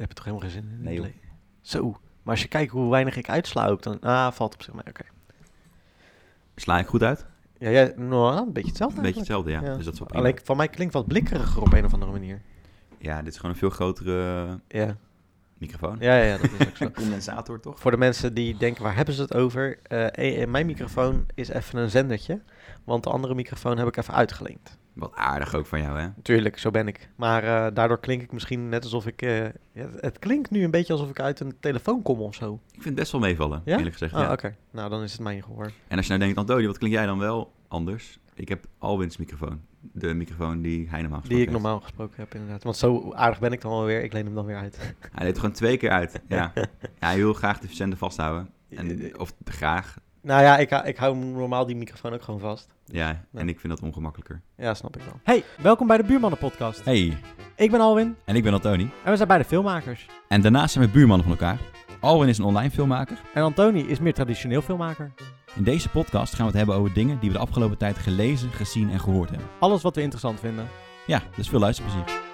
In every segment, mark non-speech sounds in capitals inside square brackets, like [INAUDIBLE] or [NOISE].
heb je toch helemaal geen zin in? Nee, joh. Zo. Maar als je kijkt hoe weinig ik uitsla ook, dan ah, valt op zich mee. Oké. Sla ik goed uit? Ja, jij, nou, een beetje hetzelfde Een eigenlijk. beetje hetzelfde, ja. Ja. Dus dat is wel prima. Alleen van mij klinkt wat blikkeriger op een of andere manier. Ja, dit is gewoon een veel grotere Ja, microfoon. ja, ja, ja, dat [LAUGHS] is ook zo. Een condensator, toch? Voor de mensen die denken, waar hebben ze het over? Eh, eh, mijn microfoon is even een zendertje, want de andere microfoon heb ik even uitgelinkt. Wat aardig ook van jou, hè? Tuurlijk, zo ben ik. Maar eh, daardoor klink ik misschien net alsof ik... eh, ja, het klinkt nu een beetje alsof ik uit een telefoon kom of zo. Ik vind het best wel meevallen, Ja? eerlijk gezegd. Ah, ja. oké. Nou, dan is het mijn gehoor. En als je nou denkt, Antonio, wat klink jij dan wel anders? Ik heb Alwin's microfoon. De microfoon die hij normaal Die gesproken ik normaal gesproken heb, inderdaad. Want zo aardig ben ik dan alweer. Ik leen hem dan weer uit. heeft. Hij deed het gewoon twee keer [LAUGHS] uit. Ja. ja, hij wil graag de verzender vasthouden. En, of graag. Nou ja, ik, hou- ik hou normaal die microfoon ook gewoon vast. Ja, en ik vind dat ongemakkelijker. Ja, snap ik wel. Hey, welkom bij de Buurmannen Podcast. Hey, Ik ben Alwin en ik ben Antoni. en we zijn beide filmmakers. En daarnaast zijn we buurmannen van elkaar. Alwin is een online filmmaker. En Antoni is meer traditioneel filmmaker. In deze podcast gaan we het hebben over dingen die we de afgelopen tijd gelezen, gezien en gehoord hebben. Alles wat we interessant vinden. Ja, dus veel luisterplezier.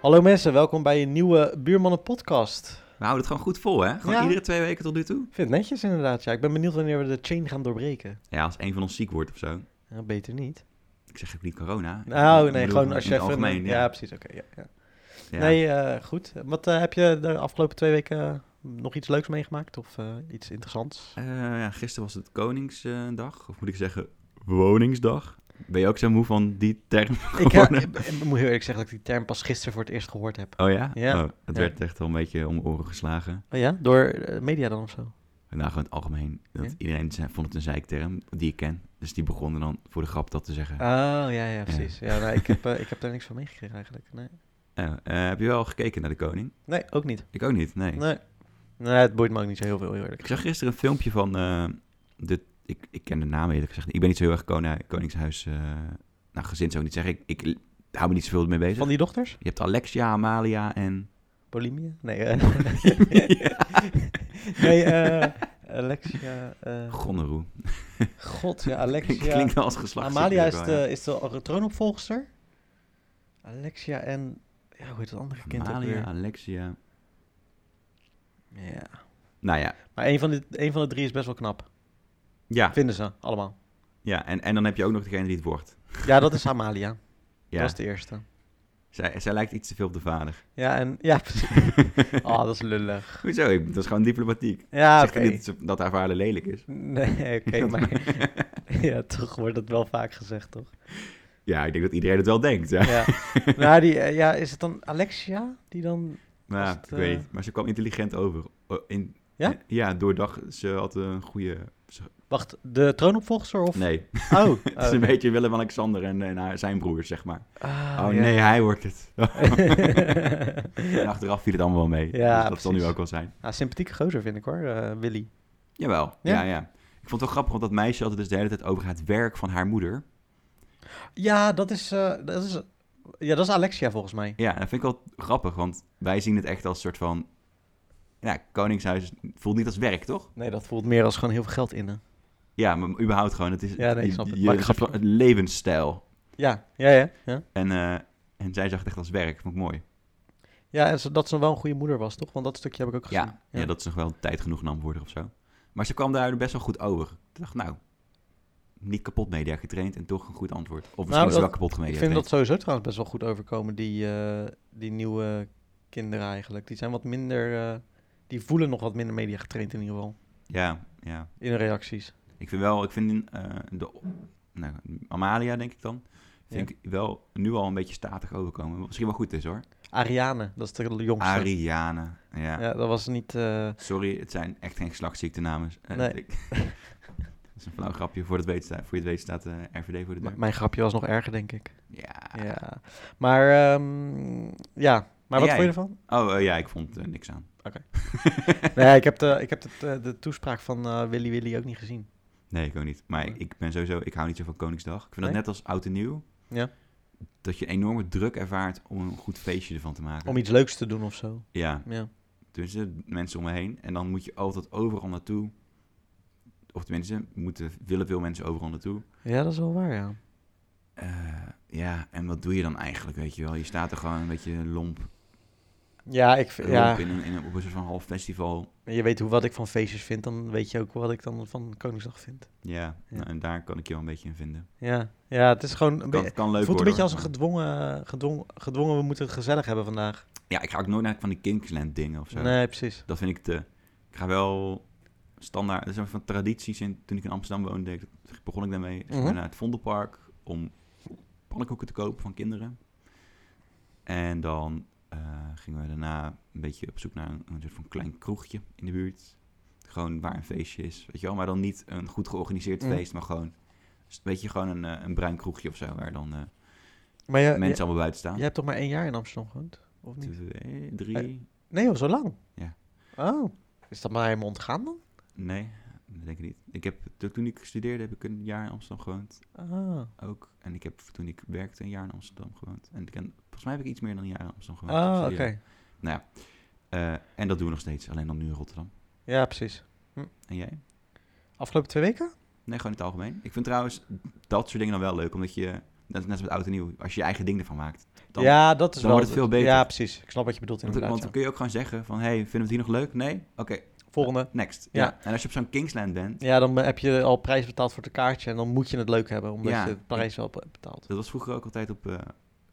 Hallo mensen, welkom bij een nieuwe Buurmannen podcast. We houden het gewoon goed vol, hè? Gewoon Ja. iedere twee weken tot nu toe. Ik vind het netjes inderdaad, ja. Ik ben benieuwd wanneer we de chain gaan doorbreken. Ja, als een van ons ziek wordt of zo. Ja, beter niet. Ik zeg ook niet corona. Nou, Ik nee, bedoel, gewoon als in je het even... algemeen, ja. ja. precies, oké. ja, ja. Ja. Nee, eh, goed. Wat eh, heb je de afgelopen twee weken eh, nog iets leuks meegemaakt? Of eh, iets [LAUGHS] interessants? Eh, ja, gisteren was het Koningsdag. Of moet ik zeggen, Woningsdag. Ben je ook zo moe van die term? Ik, heb, Gewoon, eh. ik, ik moet heel eerlijk zeggen dat ik die term pas gisteren voor het eerst gehoord heb. Oh ja? Ja. Oh, het Ja. werd echt wel een beetje om oren geslagen. Oh ja? Door eh, media dan of zo? Nou, gewoon in het algemeen. Dat Ja? Iedereen zei- vond het een zeikterm die ik ken. Dus die begonnen dan voor de grap dat te zeggen. Oh, ja, ja, precies. Ja, nou, ik, heb, eh, ik heb daar niks van meegekregen eigenlijk. Nee. Ja, eh, heb je wel gekeken naar de koning? nee, ook niet. Ik ook niet, nee. Nee. Nee, het boeit me ook niet zo heel veel, heel eerlijk. Ik zag gisteren een filmpje van... eh, de, ik, ik ken de naam eerlijk gezegd. niet. Ik ben niet zo heel erg koning, koningshuis... eh, nou, gezin zou ik niet zeggen. Ik, ik hou me niet zoveel mee bezig. Van die dochters? Je hebt Alexia, Amalia en... Bulimia? Nee. eh. [LAUGHS] nee, eh, Alexia. eh, Gonneroe. God, ja, Klinkt- Alexia. [LAUGHS] Klinkt als geslacht. Amalia is de, is de troonopvolgster. Alexia en. Ja, hoe heet dat andere kind ook Amalia, weer? Alexia. Ja. Nou ja, Maar een van, de, een van de drie is best wel knap. ja, Vinden ze allemaal. ja. En, en dan heb je ook nog degene die het wordt. Ja, dat is Amalia. [LAUGHS] Ja, Dat is de eerste. zij, zij lijkt iets te veel op de vader. Ja, en. [LAUGHS] Ja, precies. Oh, dat is lullig. Hoezo? Ik- Dat is gewoon diplomatiek. Ja, Zegt Ah, oké. er niet dat ze- dat haar vader lelijk is. Nee, oké, [LAUGHS] maar. [LAUGHS] Ja, toch wordt dat wel vaak gezegd, toch? Ja, ik denk dat iedereen het wel denkt. Ja, Ja. Nou, die, eh, ja, is het dan Alexia die dan... Maar Nou ja, Was het, ik weet eh, niet. Maar ze kwam intelligent over. O, In, Ja? in- ja, doordag. Ze had een goede... ze- Wacht, de troonopvolgster of... Nee, [LAUGHS] het Oh. is een beetje Willem-Alexander en, en haar- zijn broers, zeg maar. Ah, Oh ja. nee, hij wordt [LAUGHS] het. en achteraf viel het allemaal wel mee. Ja, dus dat zal nu precies. ook wel zijn. Ah, sympathieke gozer vind ik hoor, eh, Willy. Jawel, ja? Ja? ja, Ik vond het wel grappig, want dat meisje had het dus de hele tijd over het werk van haar moeder. Ja, dat is... eh, dat is ja, dat is Alexia volgens mij. Ja, dat vind ik wel grappig, want wij zien het echt als soort van... Ja, Koningshuis voelt niet als werk, toch? Nee, dat voelt meer als gewoon heel veel geld innen. Ja, maar überhaupt gewoon, het is Ja, nee, ik je- snap het. je- Maar ik een snap soort van een levensstijl. Ja, ja, ja. Ja, En, eh, en zij zag het echt als werk, vond ik mooi. ja en ze- dat ze wel een goede moeder was, toch? Want dat stukje heb ik ook gezien. Ja, ja. dat is nog wel tijd genoeg nam worden of zo. Maar ze kwam daar dus best wel goed over. Ik dacht, nou, niet kapot media getraind en toch een goed antwoord. Of misschien is ze Nou, dat- wel kapot Ik gemedia vind dat sowieso trouwens best wel goed overkomen, die, eh, die nieuwe kinderen eigenlijk. Die zijn wat minder... eh, die voelen nog wat minder media getraind in ieder geval. Ja, ja. In hun reacties. Ik vind wel, ik vind eh, de, nou, Amalia denk ik dan, vind ik wel nu al een beetje statig overkomen. Wat misschien wel goed is hoor. Ariane, dat is de jongste. Ariane, ja. Ja, dat was niet... eh, Sorry, het zijn echt geen geslachtsziektenamen. Eh, Nee. ik- [LAUGHS] dat is een flauw grapje. Voor, het weet, sta- voor je het weet staat eh, RVD voor de m- deur. mijn grapje was nog erger, denk ik. Ja. Ja. Maar, ehm, ja. Maar wat En jij? vond je [LAUGHS] ervan? Oh eh, ja, ik vond er niks aan. Nee, ik heb de, ik heb de, de, de toespraak van eh, Willy Willy ook niet gezien. Nee, ik ook niet. Maar ik, ik ben sowieso, ik hou niet zo van Koningsdag. Ik vind dat Nee? net als oud en nieuw. Ja. Dat je enorme druk ervaart om een goed feestje ervan te maken. Om iets leuks te doen of zo. Ja. Ja. tussen mensen om me heen. En dan moet je altijd overal naartoe. Of tenminste, moeten, willen veel mensen overal naartoe. ja, dat is wel waar, ja. Eh, ja, en wat doe je dan eigenlijk, weet je wel? Je staat er gewoon een beetje lomp Ja, ik, vind- ja, Roep in een, in een, op een soort van half festival. je weet hoe wat ik van feestjes vind, dan weet je ook wat ik dan van Koningsdag vind. Ja, Ja. nou, en daar kan ik je wel een beetje in vinden. Ja, ja het is gewoon... Een Kan, be- kan leuk voelt een beetje worden, als een hoor. gedwongen, gedwongen, gedwongen, we moeten het gezellig hebben vandaag. Ja, ik ga ook nooit naar van die Kingsland dingen of zo. Nee, precies. Dat vind ik te... Ik ga wel standaard... Er zijn van tradities. En toen ik in Amsterdam woonde, ik- begon ik daarmee. Dus ik ben Mhm. naar het Vondelpark om pannenkoeken te kopen van kinderen. En dan eh, gingen we daarna een beetje op zoek naar een, een soort van klein kroegje in de buurt. Gewoon waar een feestje is, weet je wel. Maar dan niet een goed georganiseerd Mm. feest, maar gewoon... Weet je, gewoon een, eh, een bruin kroegje of zo, waar dan eh, Maar je, mensen je, allemaal buiten staan. je hebt toch maar één jaar in Amsterdam gewoond? Of niet? Twee, drie... Nee joh, zo lang? Ja. Oh, is dat maar helemaal ontgaan dan? Nee, dat denk ik niet. Ik heb, to- toen ik studeerde heb ik een jaar in Amsterdam gewoond Ah, ook. En ik heb toen ik werkte een jaar in Amsterdam gewoond. En ik ken, volgens mij heb ik iets meer dan een jaar in Amsterdam gewoond. ah oké. Studeren. Nou ja, eh, en dat doen we nog steeds. Alleen dan nu in Rotterdam. Ja, precies. En jij? Afgelopen twee weken? Nee, gewoon in het algemeen. Ik vind trouwens dat soort dingen dan wel leuk. Omdat je, net, net als met oud en nieuw, als je je eigen ding ervan maakt. Dan, ja, dat is dan wel... wordt het veel beter. Ja, precies. Ik snap wat je bedoelt Want, inderdaad. want dan kun je ook gewoon zeggen van, hey, vinden we het hier nog leuk? Nee? Oké, ja. Volgende. next. Ja. Ja. En als je op zo'n Kingsland bent, Ja, dan heb je al prijs betaald voor het kaartje en dan moet je het leuk hebben, omdat Ja. je de prijs wel hebt betaald. Dat was vroeger ook altijd op... eh,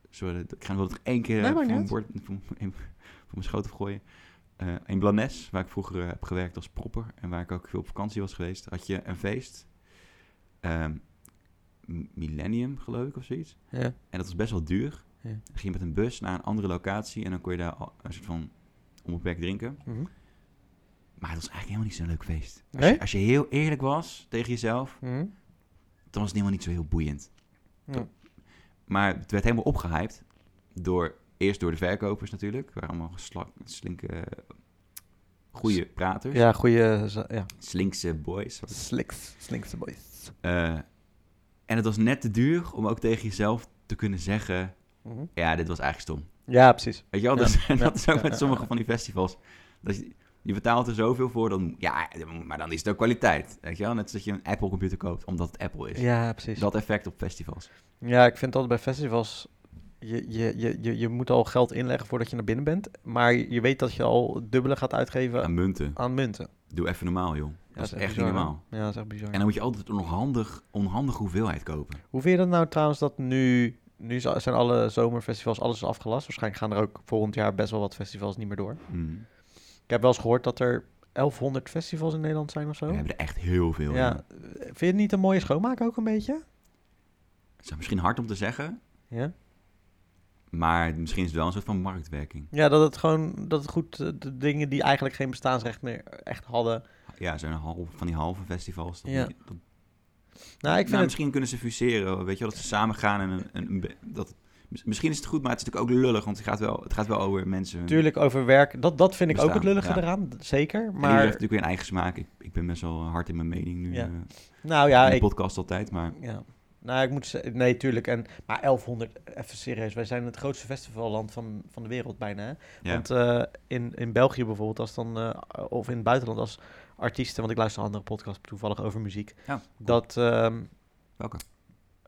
sorry, ik ga hem wel nog één keer Nee, eh, maakt van, mijn niet bord, van, [LAUGHS] mijn- van mijn schoot afgooien. Eh, in Blanes, waar ik vroeger eh, heb gewerkt als propper en waar ik ook veel op vakantie was geweest, had je een feest. Ehm, M- Millennium, geloof ik, of zoiets. Ja. En dat was best wel duur. Ja. Dan ging je met een bus naar een andere locatie en dan kon je daar al- een soort van onbeperkt drinken. Mhm. Maar het was eigenlijk helemaal niet zo'n leuk feest. Als, Nee? je, als je heel eerlijk was tegen jezelf, Mhm. dan was het helemaal niet zo heel boeiend. Ja. Maar het werd helemaal opgehyped. Door, eerst door de verkopers natuurlijk. Waren allemaal geslak, slinke, goede praters. Ja, goede. Ja. Slinkse boys. Slicks. Slinkse boys. Eh, en het was net te duur om ook tegen jezelf te kunnen zeggen... Ja, dit was eigenlijk stom. Mhm. Ja, precies. Weet je wel? Ja, Dus, en dat ja, is [LAUGHS] ook ja, ja, met sommige ja. van die festivals. Dat je, je betaalt er zoveel voor, dan, ja, maar dan is het ook kwaliteit. Weet je wel? Net als dat je een Apple-computer koopt, omdat het Apple is. Ja, precies. Dat effect op festivals. Ja, ik vind altijd bij festivals. Je, je, je, je, je moet al geld inleggen voordat je naar binnen bent. Maar je weet dat je al het dubbele gaat uitgeven Aan munten. aan munten. Doe even normaal, joh. Ja, dat is echt bizar, niet hè? normaal. Ja, dat is echt bizar. En dan moet je altijd een onhandig, onhandige hoeveelheid kopen. Hoe vind je dat nou trouwens dat nu... Nu za- zijn alle zomerfestivals, alles is afgelast. Waarschijnlijk gaan er ook volgend jaar best wel wat festivals niet meer door. Ik heb wel eens gehoord dat er 1100 festivals in Nederland zijn of zo. We hebben er echt heel veel. ja. in. Vind je het niet een mooie schoonmaak ook een beetje? Het is misschien hard om te zeggen, Ja. maar misschien is het wel een soort van marktwerking. Ja, dat het gewoon dat het goed eh, de dingen die eigenlijk geen bestaansrecht meer echt hadden. Ja, zo'n half, van die halve festivals. Dat Ja. dat- nou, Nou, ik vind het. misschien kunnen ze fuseren, weet je wel, dat ze samen gaan en een, een, een be- dat, mis- Misschien is het goed, maar het is natuurlijk ook lullig, want het gaat wel, het gaat wel over mensen. hun- Natuurlijk over werk. Dat, dat vind ik ook het Bestaan, lullige ja. eraan, d- zeker. en iedereen heeft Maar natuurlijk weer een eigen smaak. Ik, ik ben best wel hard in mijn mening nu. Ja. Ja, nou ja, in de ik, podcast altijd, maar ja. Nou, ik moet zeggen, nee, tuurlijk. En, maar 1100, even serieus. Wij zijn het grootste festivalland van, van de wereld bijna. Hè? ja. Want eh, in, in België bijvoorbeeld, als dan, eh, of in het buitenland als artiesten, want ik luister een andere podcast toevallig over muziek. Ja, cool. Dat ehm, welke?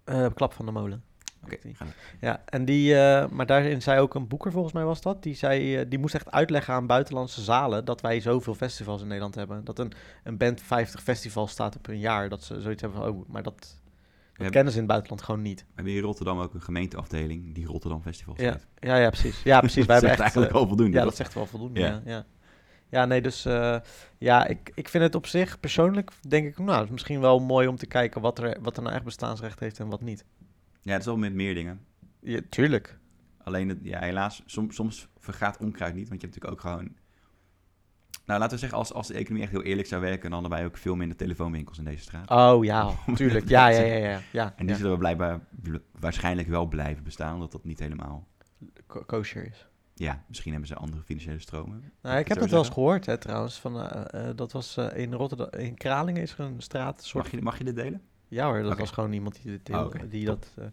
eh, Klap van de Molen. Oké, ga door. Ja, en die, eh, maar daarin zei ook een boeker, volgens mij was dat, die, zei, eh, die moest echt uitleggen aan buitenlandse zalen dat wij zoveel festivals in Nederland hebben. Dat een, een band 50 festivals staat op een jaar, dat ze zoiets hebben van, oh, maar dat, dat We hebben, kennen ze in het buitenland gewoon niet. we hebben hier in Rotterdam ook een gemeenteafdeling die Rotterdam Festivals Ja, heet. ja, ja precies. Ja, [LAUGHS] precies. wij [LAUGHS] hebben Dat zegt echt, eigenlijk eh, al voldoende. Ja, toch? dat zegt wel voldoende. Ja, Ja. ja. ja. nee, dus eh, ja, ik, ik vind het op zich persoonlijk, denk ik, nou, het is misschien wel mooi om te kijken wat er, wat er nou echt bestaansrecht heeft en wat niet. Ja, het is wel met meer dingen. Ja, tuurlijk. Alleen, het- ja, helaas, som- soms vergaat onkruid niet. Want je hebt natuurlijk ook gewoon... Nou, laten we zeggen, als, als de economie echt heel eerlijk zou werken... dan hadden wij ook veel minder telefoonwinkels in deze straat. Oh [LAUGHS] ja, tuurlijk. Ja, ja, ja, ja. ja, En die ja. zullen we blijkbaar bl- waarschijnlijk wel blijven bestaan... omdat dat niet helemaal... Ko- kosher is. Ja, misschien hebben ze andere financiële stromen. Nou, ik heb het zo dat wel eens zeggen? gehoord, hè, trouwens. Van, eh, eh, dat was eh, in Rotterdam, in Kralingen is er een straat, een soort... Mag je, mag je dit delen? Ja hoor, dat Oké. was gewoon iemand die, dit Oh, oké, die dat... eh,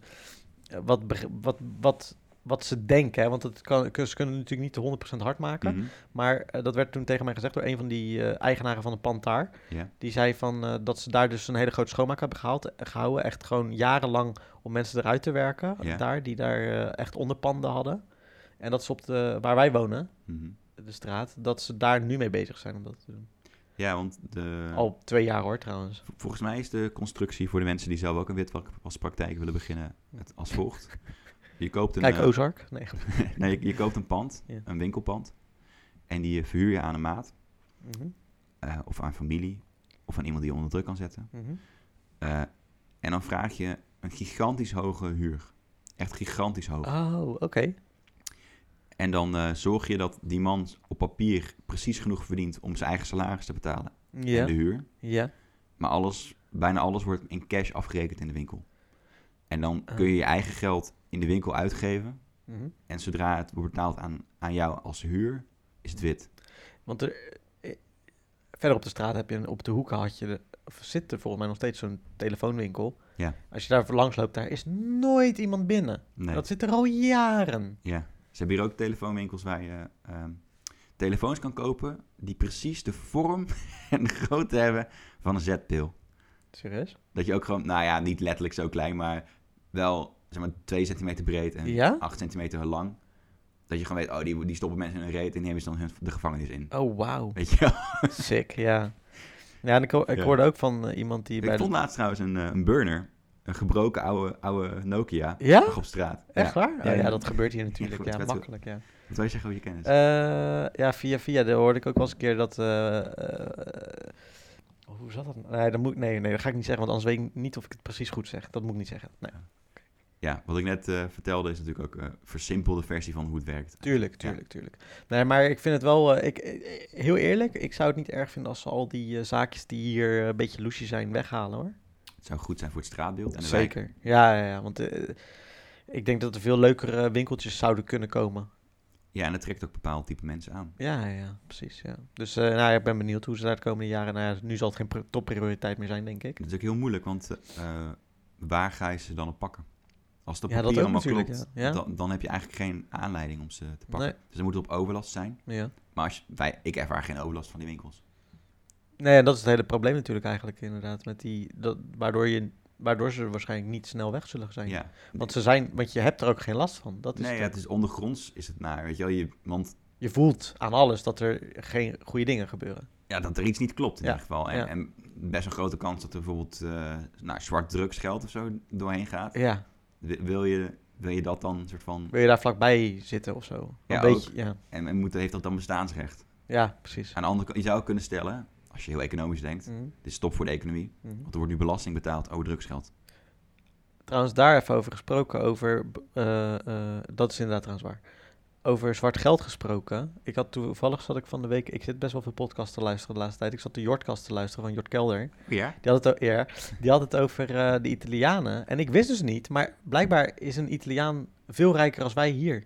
eh, wat, beg- wat, wat, wat ze denken, hè, want het kan, kun- ze kunnen het natuurlijk niet 100% hard maken. Mhm. Maar eh, dat werd toen tegen mij gezegd door een van die eh, eigenaren van de Pantar. Ja. Die zei van, eh, dat ze daar dus een hele grote schoonmaak hebben gehaald, eh, gehouden. Echt gewoon jarenlang om mensen eruit te werken. Ja. Daar, die daar eh, echt onderpanden hadden. En dat is op de, waar wij wonen, Mhm. de straat, dat ze daar nu mee bezig zijn om dat te doen. Ja, want de, Al twee jaar hoor trouwens. v- volgens mij is de constructie voor de mensen die zelf ook een witwaspraktijk willen beginnen het als volgt. Je koopt een, Kijk, eh, Ozark. Nee. [LAUGHS] nee, je, je koopt een pand, Ja. een winkelpand, en die eh, verhuur je aan een maat Mhm, eh, of aan familie of aan iemand die je onder druk kan zetten. mhm. Eh, en dan vraag je een gigantisch hoge huur. Echt gigantisch hoog. Oh, oké. En dan eh, zorg je dat die man op papier precies genoeg verdient om zijn eigen salaris te betalen en de Ja, huur. ja. Maar alles, bijna alles wordt in cash afgerekend in de winkel. En dan Ah. kun je je eigen geld in de winkel uitgeven. mhm. En zodra het wordt betaald aan, aan jou als huur, is het wit. Want er, eh, verder op de straat heb je, een- op de hoeken had je, de, of zit er volgens mij nog steeds zo'n telefoonwinkel. Ja. Als je daar voor langs loopt, daar is nooit iemand binnen. Nee. Dat zit er al jaren. Ja. Ze hebben hier ook telefoonwinkels waar je ehm, telefoons kan kopen die precies de vorm [LAUGHS] en de grootte hebben van een zetpil. Serieus? Dat je ook gewoon, nou ja, niet letterlijk zo klein, maar wel zeg maar 2 centimeter breed en Ja? 8 centimeter lang. Dat je gewoon weet, oh, die, die stoppen mensen in een reet en nemen ze dan hun- de gevangenis in. Oh, [LAUGHS] wauw. Weet je wel? Sick, ja. Ja, en ik, ho- ik Ja. hoorde ook van eh, iemand die bij Ik de... vond laatst trouwens een, eh, een burner. Een gebroken oude, oude Nokia. Ja? Lag op straat. Echt Ja. waar? Ja, Oh, ja, [LAUGHS] ja. dat gebeurt hier natuurlijk. goed, Ja, werd- makkelijk, ja. Wat wil je zeggen over je kennis? Eh, ja, via via. Daar hoorde ik ook wel eens een keer dat... eh, eh, hoe zat dat? nou? Nee, dat moet, nee, nee, dat ga ik niet zeggen, want anders weet ik niet of ik het precies goed zeg. Dat moet ik niet zeggen. Nee. ja, wat ik net eh, vertelde is natuurlijk ook een versimpelde versie van hoe het werkt. Tuurlijk, tuurlijk, tuurlijk. Nee, maar ik vind het wel, eh, ik, eh, heel eerlijk, ik zou het niet erg vinden als ze al die eh, zaakjes die hier eh, een beetje loesje zijn weghalen hoor. Het zou goed zijn voor het straatbeeld. En de wijk. Zeker. Ja, ja, ja, want eh, ik denk dat er veel leukere winkeltjes zouden kunnen komen. Ja, en dat trekt ook bepaald type mensen aan. Ja, ja, ja, precies. Ja. Dus eh, nou, ja, ik ben benieuwd hoe ze daar de komende jaren, nou ja, nu zal het geen pr- topprioriteit meer zijn denk ik. Dat is ook heel moeilijk, want eh, waar ga je ze dan op pakken? Als dat Ja, dat papier ook allemaal natuurlijk, klopt, ja. Ja. Dan, dan heb je eigenlijk geen aanleiding om ze te pakken. Nee. Dus dan moet het op overlast zijn. Ja. Maar als, je- wij, ik ervaar geen overlast van die winkels. Nee, en dat is het hele probleem natuurlijk eigenlijk inderdaad, met die, dat, waardoor, je, waardoor ze waarschijnlijk niet snel weg zullen zijn. Ja. Want, ze zijn, want je hebt er ook geen last van. Dat is nee, het. ja, het is ondergronds is het naar, weet je wel. Je, want je voelt aan alles dat er geen goede dingen gebeuren. ja, dat er iets niet klopt in Ja, ieder geval. En, ja. en best een grote kans dat er bijvoorbeeld eh, nou, zwart drugsgeld of zo doorheen gaat. Ja, Wi- Wil je, wil je dat dan een soort van... wil je daar vlakbij zitten of zo? Ja, een beetje, ja. En, en moet, heeft dat dan bestaansrecht? ja, precies. Aan de andere kant, je zou ook kunnen stellen, als je heel economisch denkt... Mhm, Dit is top voor de economie. mhm. Want er wordt nu belasting betaald over drugsgeld. Trouwens, daar even over gesproken, over, b- eh, eh, dat is inderdaad trouwens waar. Over zwart geld gesproken. Ik had toevallig zat ik van de week, ik zit best wel veel podcasts te luisteren de laatste tijd. Ik zat de Jortcast te luisteren van Jort Kelder. Ja? Die had het, o- ja, die had het over eh, de Italianen. En ik wist dus niet, maar blijkbaar is een Italiaan veel rijker als wij hier.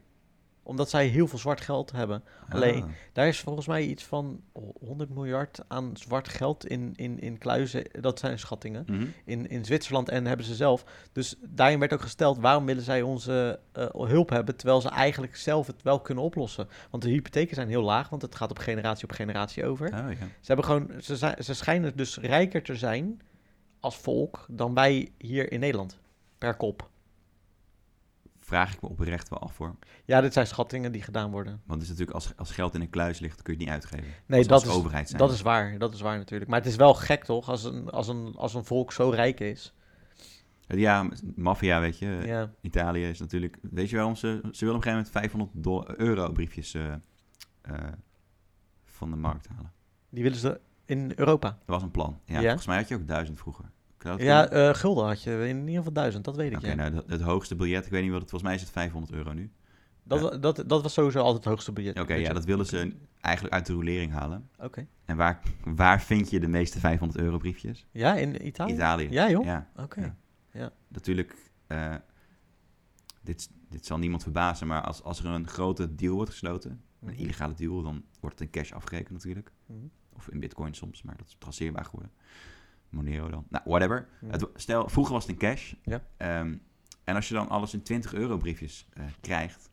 Omdat zij heel veel zwart geld hebben. Ah, Alleen- Daar is volgens mij iets van ho- 100 miljard aan zwart geld in, in, in kluizen. Dat zijn schattingen. mhm. In, in Zwitserland en hebben ze zelf. Dus daarin werd ook gesteld, waarom willen zij onze eh, hulp hebben... terwijl ze eigenlijk zelf het wel kunnen oplossen. Want de hypotheken zijn heel laag, want het gaat op generatie op generatie over. Oh, ja. Ze, hebben gewoon, ze, zijn- ze schijnen dus rijker te zijn als volk dan wij hier in Nederland. Per kop. Vraag ik me oprecht wel af voor. Ja, dit zijn schattingen die gedaan worden. Want het is natuurlijk als, als geld in een kluis ligt, kun je het niet uitgeven. Nee, Als- dat als is, overheid zijn. dat is waar. Dat is waar natuurlijk. Maar het is wel gek toch, als een, als een, als een volk zo rijk is. Ja, maffia, weet je. eh, Ja, Italië is natuurlijk... Weet je waarom ze... Ze willen op een gegeven moment 500 dollar, euro briefjes eh, eh, van de markt halen. die willen ze in Europa. Dat was een plan. Ja, Ja? Volgens mij had je ook duizend vroeger. Zou dat Ja, kunnen? eh, gulden had je in ieder geval duizend, dat weet ik. Oké, ja. nou, dat- het hoogste biljet, ik weet niet wat het... Volgens mij is het 500 euro nu. dat, wa- dat, dat was sowieso altijd het hoogste budget. Oké, ja, dat willen ze eigenlijk uit de rolering halen. Oké. En waar, waar vind je de meeste 500 euro briefjes? Ja, in Italië? Italië. Ja joh, Ja, oké. Ja. natuurlijk. eh, dit, dit zal niemand verbazen, maar als, als er een grote deal wordt gesloten, Mm. een illegale deal, dan wordt het in cash afgerekend natuurlijk. Mhm. Of in bitcoin soms, maar dat is traceerbaar geworden. Monero dan. Nou, whatever. Mhm. Het, stel, vroeger was het in cash. Ja. Ehm, en als je dan alles in 20 euro briefjes eh, krijgt,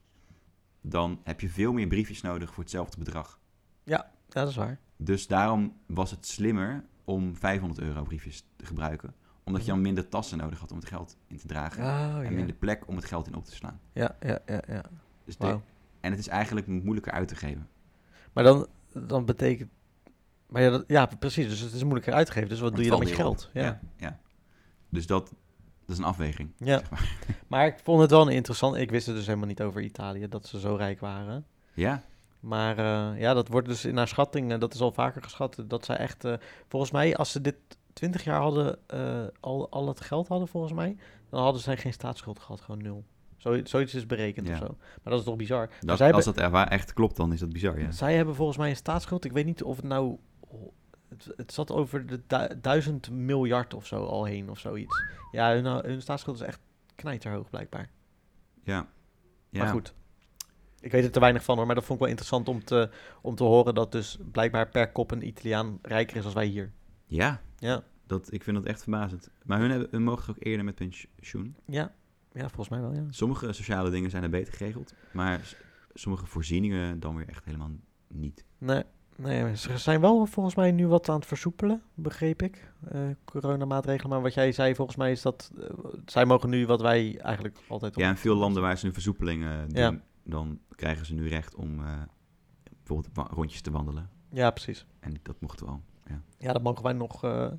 dan heb je veel meer briefjes nodig voor hetzelfde bedrag. Ja, dat is waar. Dus daarom was het slimmer om 500 euro briefjes te gebruiken. Omdat je dan minder tassen nodig had om het geld in te dragen Oh, en ja. minder plek om het geld in op te slaan. Ja, ja, ja, ja. Dus de- Wauw. En het is eigenlijk moeilijker uit te geven. Maar dan, dan betekent... Maar ja, dat- ja, precies. Dus het is moeilijker uitgeven. Dus wat Maar doe je het dan met je valt geld? heel Ja. Ja. ja. Dus dat, dat is een afweging. ja. [LAUGHS] Maar ik vond het wel een interessant... Ik wist het dus helemaal niet over Italië, dat ze zo rijk waren. Ja, Maar eh, ja, dat wordt dus in haar schatting, eh, dat is al vaker geschat, dat zij echt, eh, volgens mij, als ze dit 20 jaar hadden, eh, al, al het geld hadden, volgens mij, dan hadden zij geen staatsschuld gehad, gewoon nul. Zo, zoiets is berekend Ja. of zo. Maar dat is toch bizar? Maar dat, zij, als hebben, dat er wa- echt klopt, dan is dat bizar, Oh, ja. zij hebben volgens mij een staatsschuld, ik weet niet of het nou, het, het zat over de du- duizend miljard of zo al heen of zoiets. Ja, hun, hun staatsschuld is echt knijterhoog blijkbaar. Ja. ja. Maar goed. Ik weet er te weinig van hoor, maar dat vond ik wel interessant om te, om te horen dat dus blijkbaar per kop een Italiaan rijker is als wij hier. Ja, Ja, dat, ik vind dat echt verbazend. Maar hun, hebben, hun mogen toch ook eerder met pensioen? ja. ja volgens mij wel ja. Sommige sociale dingen zijn er beter geregeld, maar s- sommige voorzieningen dan weer echt helemaal niet. Nee, nee, ze zijn wel volgens mij nu wat aan het versoepelen, begreep ik. Eh, coronamaatregelen, maar wat jij zei volgens mij is dat eh, zij mogen nu wat wij eigenlijk altijd... Ja, in veel landen waar ze nu versoepelingen doen, Ja. dan krijgen ze nu recht om eh, bijvoorbeeld wa- rondjes te wandelen. Ja, precies. En dat mochten we al. Ja, dat mogen wij nog, eh,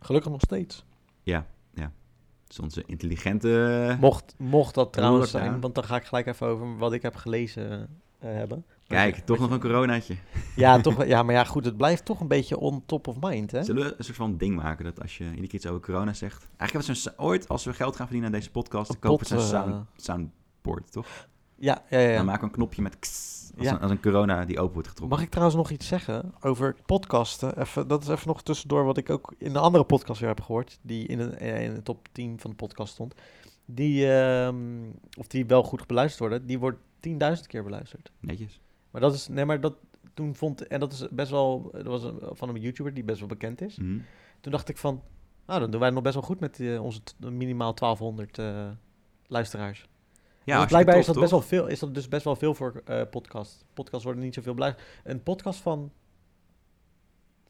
gelukkig nog steeds. Dat is onze intelligente... Mocht, mocht dat trouwens Moeilijk, zijn, ja. want dan ga ik gelijk even over wat ik heb gelezen eh, hebben. Kijk, Wat je- toch wat nog een coronaatje. je- Ja, toch, wel- ja, maar ja, goed, het blijft toch een beetje on top of mind, hè? Zullen we een soort van ding maken dat als je iedere keer iets over corona zegt... Eigenlijk hebben ze een sa- ooit, als we geld gaan verdienen aan deze podcast, dan Een kopen ze een pot, eh, sound, soundboard, toch? Ja, ja, ja. Dan ja. maken we een knopje met kss, als, Ja. een, als een corona die open wordt getrokken. Mag ik trouwens nog iets zeggen over podcasten? Even, dat is even nog tussendoor wat ik ook in een andere podcast weer heb gehoord. Die in de, eh, in de top 10 van de podcast stond. Die, ehm, of die wel goed beluisterd worden, die wordt 10.000 keer beluisterd. Netjes. Maar dat is, nee, maar dat toen vond, en dat is best wel, dat was een- van een YouTuber die best wel bekend is. Mhm. Toen dacht ik van, nou dan doen wij het nog best wel goed met eh, onze t- minimaal 1200 eh, luisteraars. Ja, Dus als je blijkbaar het is dat topt, best toch? wel veel. Is dat dus best wel veel voor eh podcast. Podcasts worden niet zoveel beluisterd. Een podcast van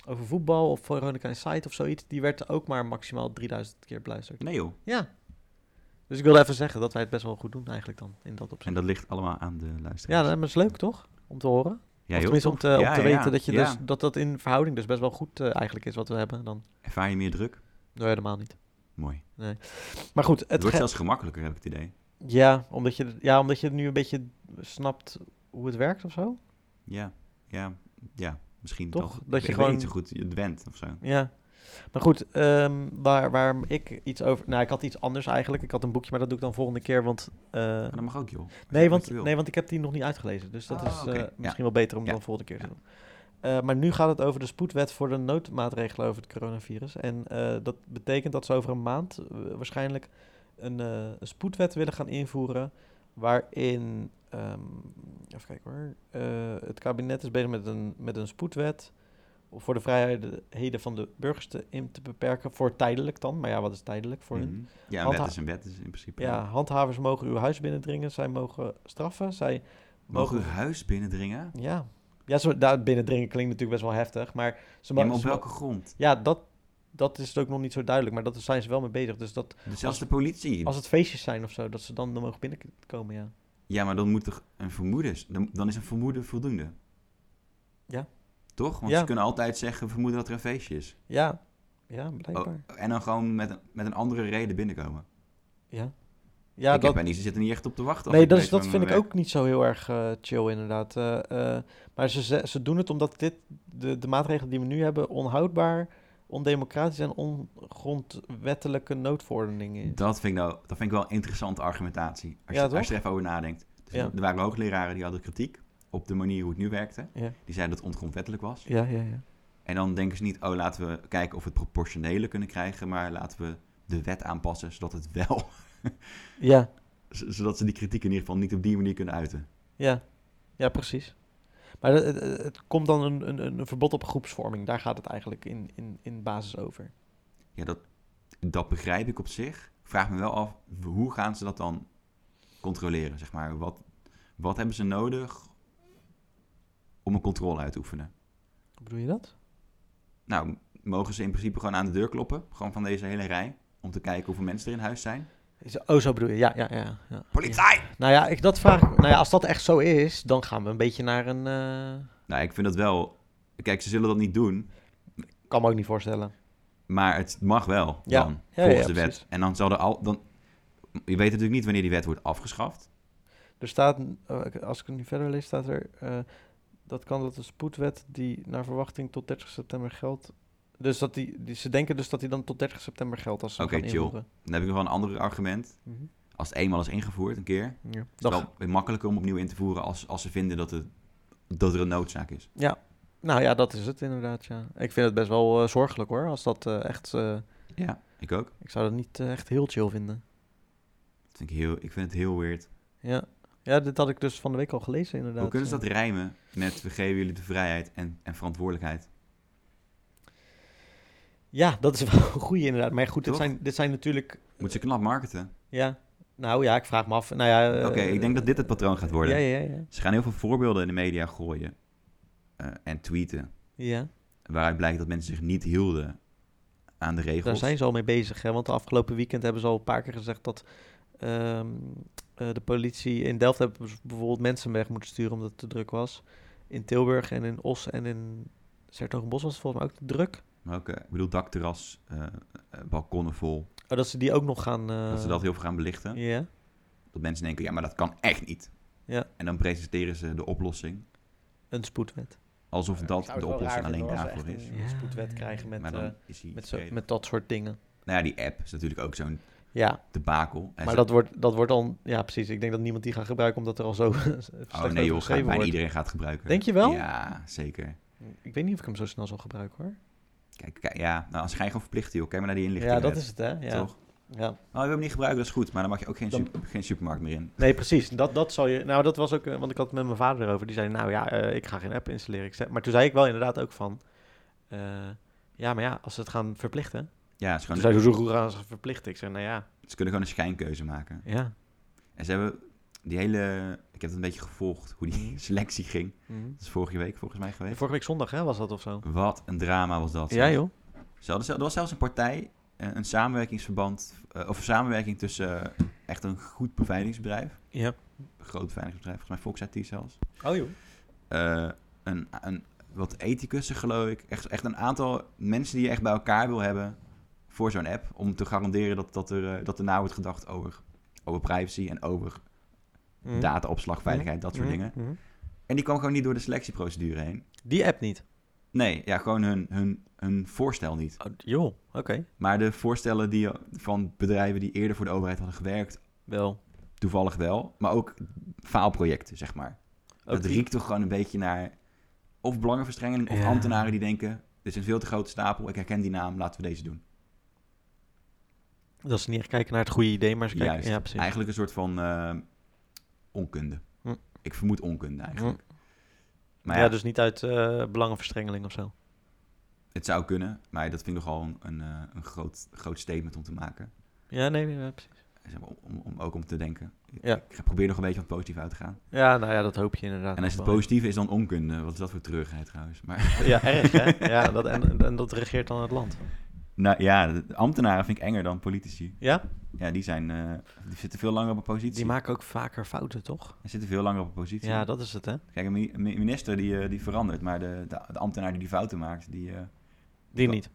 over voetbal of Veronica Insight of zoiets, die werd ook maar maximaal 3000 keer beluisterd. Nee joh. Ja. Dus ik wilde even zeggen dat wij het best wel goed doen eigenlijk dan in dat En opzicht. dat ligt allemaal aan de luisteraars. Ja, dat is leuk toch? Om te horen. Ja, of joh, tenminste om te, tof. om Ja, te ja, weten ja. dat, je Ja. dus, dat dat in verhouding dus best wel goed eh, eigenlijk is wat we hebben dan. Ervaar je meer druk? Nee, helemaal niet. Mooi. Het, Maar goed, het, wordt ge- zelfs gemakkelijker, heb ik het idee. ja, omdat je, ja, omdat je nu een beetje snapt hoe het werkt of zo. Ja, ja, ja. Misschien Toch? toch. Dat Ik je weet- ik gewoon- weet niet zo goed, je went of zo. Ja. Maar goed, ehm, waar, waar ik iets over... Nou, ik had iets anders eigenlijk. Ik had een boekje, maar dat doe ik dan volgende keer, want... eh, Maar dat mag ook joh. Als je- nee, wat want, je wil. nee, want ik heb die nog niet uitgelezen. Dus dat Ah, is eh, oké. Ja. misschien wel beter om Ja. dan volgende keer te Ja. doen. Eh, maar nu gaat het over de spoedwet voor de noodmaatregelen over het coronavirus. En eh, dat betekent dat ze over een maand eh, waarschijnlijk een, eh, een spoedwet willen gaan invoeren... waarin... ehm, even kijken hoor. Eh, het kabinet is bezig met een, met een spoedwet of voor de vrijheden van de burgers te, in te beperken. Voor tijdelijk dan. Maar ja, wat is tijdelijk voor hun? Mhm. Ja, een Want wet ha- is een wet, is in principe. Ja, handhavers mogen uw huis binnendringen. Zij mogen straffen. Zij Mogen mogen... we huis binnendringen? Ja. Ja, zo, daar binnendringen klinkt natuurlijk best wel heftig. Maar ze Ja, mogen... maar op ze mo- welke grond? Ja, dat, dat is ook nog niet zo duidelijk. Maar dat daar zijn ze wel mee bezig. Dus dat Dus zelfs de politie. als het feestjes zijn of zo, dat ze dan, dan mogen binnenkomen, ja. Ja, maar dan moet toch een vermoeden... Dan, dan is een vermoeden voldoende. Ja. Toch? Want Ja. ze kunnen altijd zeggen, we vermoeden dat er een feestje is. Ja. Ja, blijkbaar. Oh, en dan gewoon met een, met een andere reden binnenkomen. Ja. Ja, ik dat... heb bij niet, ze zitten niet echt op te wachten. als Nee, ik dat, is, bezig dat ben vind met ik mijn ook niet zo heel erg eh, chill, inderdaad. Eh, eh, maar ze, ze, ze doen het omdat dit, de, de maatregelen die we nu hebben onhoudbaar, ondemocratisch en ongrondwettelijke noodverordening is. werk. Dat vind, ik nou, dat vind ik wel een interessante argumentatie. Als, Ja, je, toch? als je er even over nadenkt. Dus Ja. Er waren hoogleraren die hadden kritiek op de manier hoe het nu werkte. Ja. Die zeiden dat het ongrondwettelijk was. Ja, ja, ja. En dan denken ze niet, oh laten we kijken of we het proportionele kunnen krijgen. Maar laten we de wet aanpassen zodat het wel... [LAUGHS] Ja, Z- zodat ze die kritiek in ieder geval niet op die manier kunnen uiten. ja. Ja, precies. Maar het, het- het komt dan een, een, een verbod op groepsvorming. Daar gaat het eigenlijk in, in, in basis over. Ja, dat, dat begrijp ik op zich. Ik Vraag me wel af, hoe gaan ze dat dan controleren, zeg maar? Wat, wat hebben ze nodig om een controle uit te oefenen? Hoe bedoel je dat? Nou, mogen ze in principe gewoon aan de deur kloppen, gewoon van deze hele rij, om te kijken hoeveel mensen er in huis zijn? Is- Oh, zo bedoel je. Ja, ja, ja. ja. Politie! Ja. Nou ja, ik, dat vraag, nou ja, als dat echt zo is, dan gaan we een beetje naar een... eh, Nou, ik vind dat wel... Kijk, ze zullen dat niet doen, kan me ook niet voorstellen. maar het mag wel Ja. dan, ja, volgens de ja, wet. precies. En dan zal er al... Dan, je weet natuurlijk niet wanneer die wet wordt afgeschaft. Er staat, eh, ik- als ik het nu verder lees, staat er... eh, dat kan dat de spoedwet die naar verwachting tot 30 september geldt... Dus dat die, die- ze denken dus dat die dan tot 30 september geldt als ze hem Oké, gaan chill. invoeren. Dan heb ik nog wel een ander argument. Mhm. Als het eenmaal is ingevoerd, een keer, Ja. is het wel weer makkelijker om opnieuw in te voeren als, als ze vinden dat, het, dat er een noodzaak is. Nou ja, dat is het inderdaad, ja. Ik vind het best wel eh, zorgelijk hoor, als dat eh, echt... eh, Ja, ik ook. ik zou dat niet eh, echt heel chill vinden. Dat vind ik, heel, ik vind het heel weird. Ja. ja, dit had ik dus van de week al gelezen inderdaad. Hoe kunnen ze ja. dat rijmen met we geven jullie de vrijheid en, en verantwoordelijkheid? Ja, dat is [LAUGHS] wel een goeie inderdaad. Maar goed, dit Toch? zijn, dit zijn natuurlijk... Moeten ze knap marketen? Ja, nou ja, ik vraag me af. Nou ja, eh, Oké, ik denk dat dit het patroon gaat worden. Ja, ja, ja. Ze gaan heel veel voorbeelden in de media gooien eh, en tweeten. ja. Waaruit blijkt dat mensen zich niet hielden aan de regels. Daar zijn ze al mee bezig. Hè? Want de afgelopen weekend hebben ze al een paar keer gezegd dat ehm, eh, de politie in Delft hebben ze bijvoorbeeld mensen weg moeten sturen omdat het te druk was. In Tilburg en in Os en in Sertogenbos was het volgens mij ook te druk. Maar ook, eh, ik bedoel, dakterras, eh, eh, balkonnen vol. Oh, dat ze die ook nog gaan. eh, dat ze dat heel veel gaan belichten. Ja. Dat mensen denken, ja, maar dat kan echt niet. Ja. En dan presenteren ze de oplossing. Een spoedwet. Alsof Ja, ik dat zou het de wel raar oplossing alleen vinden als we daarvoor echt is. een- Een spoedwet krijgen met, maar eh, dan is hij... met, zo, vergeten. met dat soort dingen. Nou ja, die app is natuurlijk ook zo'n Ja, debakel. En maar ze- dat wordt, dat wordt dan... Ja, precies. Ik denk dat niemand die gaat gebruiken omdat er al zo [LAUGHS] slecht Oh over nee joh, gaat, geschreven bijna wordt. iedereen gaat het gebruiken. Denk je wel? Ja, zeker. Ik weet niet of ik hem zo snel zal gebruiken hoor. Kijk, kijk ja, nou, als ga je gewoon verplichten joh. Kijk maar naar die inlichting. Ja, dat is het hè. Ja. Toch? Ja. Oh, je wil hem niet gebruiken, dat is goed. Maar dan mag je ook geen, Dan- sup- geen supermarkt meer in. Nee, precies. Dat, dat zal je. Nou, dat was ook. eh, Want ik had het met mijn vader erover. Die zei: Nou ja, eh, ik ga geen app installeren. Ik zei, maar toen zei ik wel inderdaad ook van. eh, ja, maar ja, als ze het gaan verplichten. Ja, het is Toen gewoon, zei ze: Zo goed gaan ze het verplichten. Ik zei: Nou ja. ze kunnen gewoon een schijnkeuze maken. Ja. En ze hebben die hele... Ik heb het een beetje gevolgd, hoe Mm. die [LAUGHS] selectie ging. Mhm. Dat is vorige week volgens mij geweest. Vorige week zondag hè, was dat of zo? Wat een drama was dat. Ja, zeg. joh. Ze hadden, zel- er was zelfs een partij, eh, een samenwerkingsverband... eh, of samenwerking tussen eh, echt een goed beveiligingsbedrijf... Ja. een groot beveiligingsbedrijf, volgens mij Fox IT zelfs... Oh, joh. eh, een, een, wat ethicussen geloof ik. Echt, echt een aantal mensen die je echt bij elkaar wil hebben voor zo'n app. Om te garanderen dat, dat, er, eh, dat er na wordt gedacht over, over privacy en over Hm. Mhm. dataopslag, veiligheid, dat soort dingen. En die kwam gewoon niet door de selectieprocedure heen. Die app niet. Nee, ja, gewoon hun, hun, hun voorstel niet. Oh, joh. Oké. Maar de voorstellen die, van bedrijven die eerder voor de overheid hadden gewerkt, Wel. toevallig wel. Maar ook faalprojecten, zeg maar. Ook Dat die- riekt toch gewoon een beetje naar of belangenverstrengeling of Ja. ambtenaren die denken... dit is een veel te grote stapel, ik herken die naam, laten we deze doen. Dat ze niet echt kijken naar het goede idee, maar ze kijken. Juist. Ja, precies. Eigenlijk een soort van eh, onkunde. Hm. Ik vermoed onkunde eigenlijk. Maar ja. ja, dus niet uit eh, belangenverstrengeling of zo. het zou kunnen, maar dat vind ik nogal een, een, eh, een groot, groot statement om te maken. Ja, nee, nee, ja, precies. Zeg maar, om, om, om- ook om te denken. Ja. Ik probeer nog een beetje van het positief uit te gaan. Ja, nou ja, dat hoop je inderdaad. En als nog het wel. positieve is dan onkunde. Wat is dat voor treurigheid trouwens? Maar, [LAUGHS] Ja, erg hè? Ja, dat, en, en dat regeert dan het land. [LAUGHS] nou ja, de ambtenaren vind ik enger dan politici. Ja? Ja, die, zijn, eh, die zitten veel langer op een positie. Die maken ook vaker fouten, toch? Hij zit er veel langer op een positie. Ja, dat is het hè? Kijk, een mi- een minister die, eh, die verandert, maar de, de, de ambtenaar die die fouten maakt, die, eh, Die Ja. niet.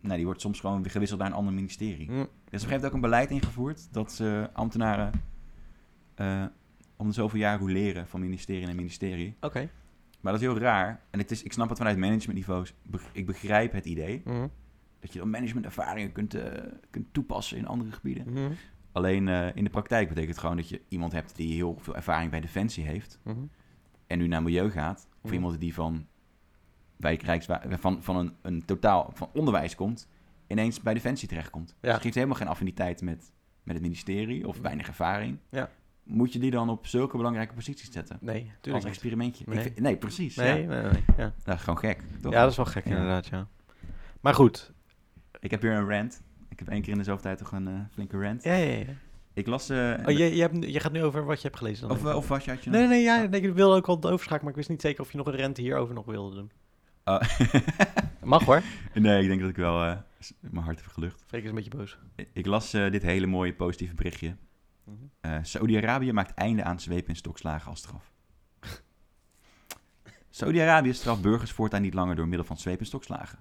nou, die wordt soms gewoon weer gewisseld naar een ander ministerie. Hm. Er is Dus op een gegeven moment ook een beleid ingevoerd dat ze ambtenaren eh, om de zoveel jaar roleren van ministerie naar ministerie. Oké. Maar dat is heel raar. En het is, ik snap het vanuit managementniveaus. Be- Ik begrijp het idee Mhm. dat je dan managementervaringen kunt, eh, kunt toepassen in andere gebieden. Mhm. Alleen eh, in de praktijk betekent het gewoon dat je iemand hebt die heel veel ervaring bij Defensie heeft. Mhm. en nu naar milieu gaat, of Mhm. iemand die van, wijk, Rijkswa- van, van een, een totaal van onderwijs komt, ineens bij Defensie terechtkomt. Ja. Dus geeft helemaal geen affiniteit met, met het ministerie of Mhm. weinig ervaring. Ja. Moet je die dan op zulke belangrijke posities zetten? Nee, Als tuurlijk niet. experimentje. Ik Nee. vind- nee, precies. Nee, Ja. nee, nee. nee. Ja. Dat is gewoon gek. Toch? ja, dat is wel gek Ja. inderdaad, ja. Maar goed. Ik heb hier een rant. Ik heb één keer in de zoveel tijd toch een eh, flinke rant. Ja, ja, ja. Ik las... eh, Oh, je, je, hebt, nu- je gaat nu over wat je hebt gelezen dan? of, even. of was je, had je Nee, nog- nee, nee, ja, nee, ik wilde ook al overschakelen, maar ik wist niet zeker of je nog een rente hierover nog wilde doen. Ah, Mag hoor. [LAUGHS] nee, ik denk dat ik wel eh, s- mijn hart heb gelucht. [LAUGHS] Freek is een beetje boos. I- Ik las eh, dit hele mooie positieve berichtje. Eh, Saudi-Arabië maakt einde aan zweep en stokslagen als straf. Saudi-Arabië straft burgers voortaan niet langer door middel van zweep en stokslagen.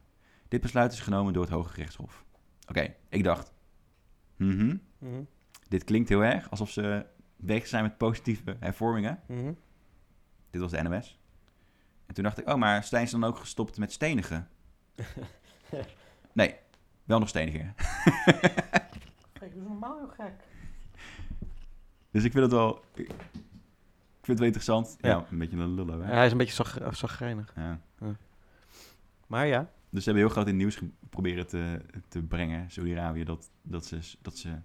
Dit besluit is genomen door het Hoge Rechtshof. Oké, ik dacht. mhm, Mhm. Dit klinkt heel erg alsof ze weg zijn met positieve hervormingen. Mhm. Dit was de NOS. En toen dacht ik, oh, maar zijn ze dan ook gestopt met stenigen? nee, wel nog stenigen. Freek is normaal heel gek. Dus ik vind het wel... Ik vind het wel interessant. Ja, Ja. een beetje een lullo, hè? hij is een beetje zag, zagrijnig. Ja. Maar ja. Dus ze hebben heel groot in het nieuws proberen te, te brengen, Saudi-Arabië, dat, dat, ze, dat ze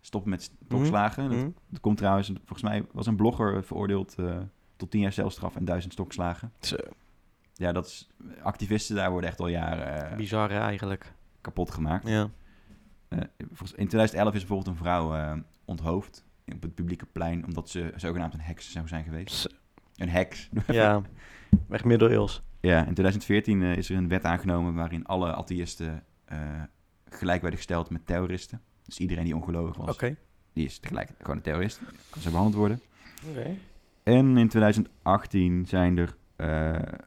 stoppen met stokslagen. Dat, Mhm. dat komt trouwens, volgens mij was een blogger veroordeeld eh, tot 10 jaar celstraf en 1000 stokslagen. Zo. Ja, dat is, activisten daar worden echt al jaren eh, Bizar hè, eigenlijk. kapot gemaakt. Ja. Eh, volgens- in 2011 is bijvoorbeeld een vrouw eh, onthoofd op het publieke plein omdat ze zogenaamd een heks zou zijn geweest. Zo. Een heks. [LAUGHS] ja. Echt middeleeuws. Ja, in 2014 eh, is er een wet aangenomen waarin alle atheïsten eh, gelijk werden gesteld met terroristen. Dus iedereen die ongelovig was, die is tegelijk gewoon een terrorist. Kan zo behandeld worden. Oké. En in 2018 zijn er eh,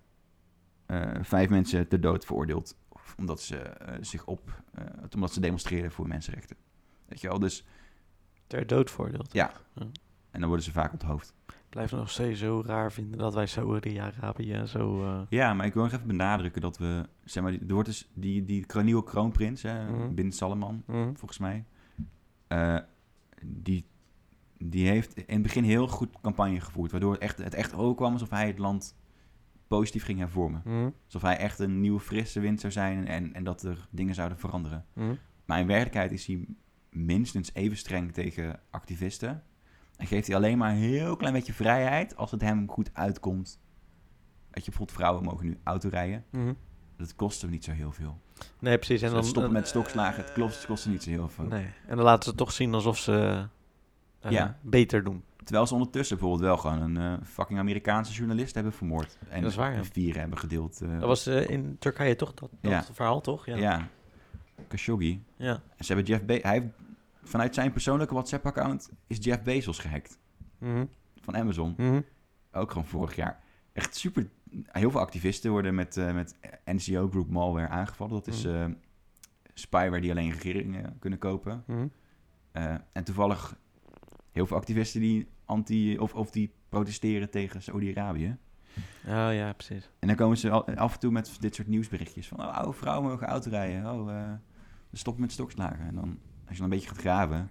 eh, vijf mensen ter dood veroordeeld. Of Omdat ze, eh, zich op, eh, omdat ze demonstreren voor mensenrechten. Weet je wel, dus... Ter dood veroordeeld. Ja. En dan worden ze vaak onthoofd. Ik blijf het nog steeds zo raar vinden dat wij Saoedi-Arabië zo... eh, Ja, maar ik wil nog even benadrukken dat we... Zeg maar, die- er wordt dus die, die nieuwe kroonprins, hè, Mhm. Bin Salman, mhm. volgens mij. eh, die, die heeft in het begin heel goed campagne gevoerd. Waardoor het echt, het echt overkwam alsof hij het land positief ging hervormen. Mhm. Alsof hij echt een nieuwe frisse wind zou zijn en, en dat er dingen zouden veranderen. Mhm. Maar in werkelijkheid is hij minstens even streng tegen activisten. En geeft hij alleen maar een heel klein beetje vrijheid als het hem goed uitkomt. Weet je, bijvoorbeeld vrouwen mogen nu auto rijden. Mhm. Dat kost hem niet zo heel veel. Nee, precies. En En dan, eh, stoppen dan- met stokslagen, het kost, het kost hem niet zo heel veel. Nee. En dan laten ze toch zien alsof ze eh, Ja. beter doen. Terwijl ze ondertussen bijvoorbeeld wel gewoon een eh, fucking Amerikaanse journalist hebben vermoord. En Dat is waar, ja. en vier hebben gedeeld. eh, Dat was eh, in Turkije toch dat, dat Ja. verhaal, toch? ja. Ja. ja. Khashoggi. En ze hebben Jeff Be hij heeft, vanuit zijn persoonlijke WhatsApp-account is Jeff Bezos gehackt. Mhm. Van Amazon. Mhm. Ook gewoon vorig jaar. Echt super. Heel veel activisten worden met, eh, met NCO Group Malware aangevallen. Dat is Mm. eh, spyware die alleen regeringen kunnen kopen. Mhm. Eh, en toevallig heel veel activisten die, anti, of, of die protesteren tegen Saudi-Arabië. Oh ja, precies. En dan komen ze al- af en toe met dit soort nieuwsberichtjes. Van, oh, oude vrouwen mogen autorijden. Oh, eh, stop met stokslagen. En dan, als je dan een beetje gaat graven.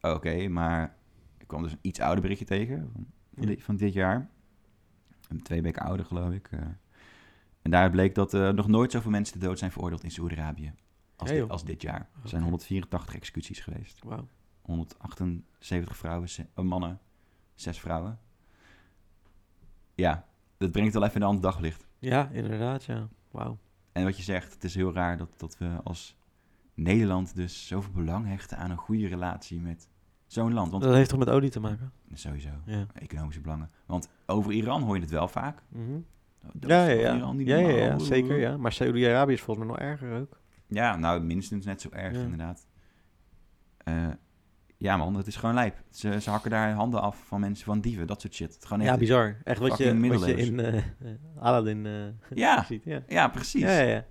oh, Oké, maar ik kwam dus een iets ouder berichtje tegen. Van, van dit, van dit jaar. Een Twee weken ouder, geloof ik. eh. en daar bleek dat eh, nog nooit zoveel mensen te dood zijn veroordeeld in Saoedi-Arabië. Als, Hey, dit- joh. als dit jaar. Er Oké. zijn 184 executies geweest. Wauw. 178 vrouwen, ze- eh, mannen, 6 vrouwen. Ja, dat brengt wel even in een ander daglicht. Ja, inderdaad, ja. Wauw. En wat je zegt, het is heel raar dat, dat we als Nederland dus zoveel belang hechten aan een goede relatie met zo'n land. Want Dat heeft toch met olie te maken? sowieso, Ja. economische belangen. Want over Iran hoor je het wel vaak. Mhm. Dat Ja, is ja, toch ja. Iran niet ja, ja, ja, normaal? zeker. Ja. Maar Saudi-Arabië is volgens mij nog erger ook. Ja, nou, minstens net zo erg, Ja. inderdaad. Eh, ja, man, het is gewoon lijp. Ze, ze hakken daar handen af van mensen, van dieven, dat soort shit. Het is gewoon Ja, echt... bizar. Echt wat je, Oh, fucking wat je in eh, eh, Aladdin eh, Ja, ziet. Ja, ja, precies. ja, ja. ja.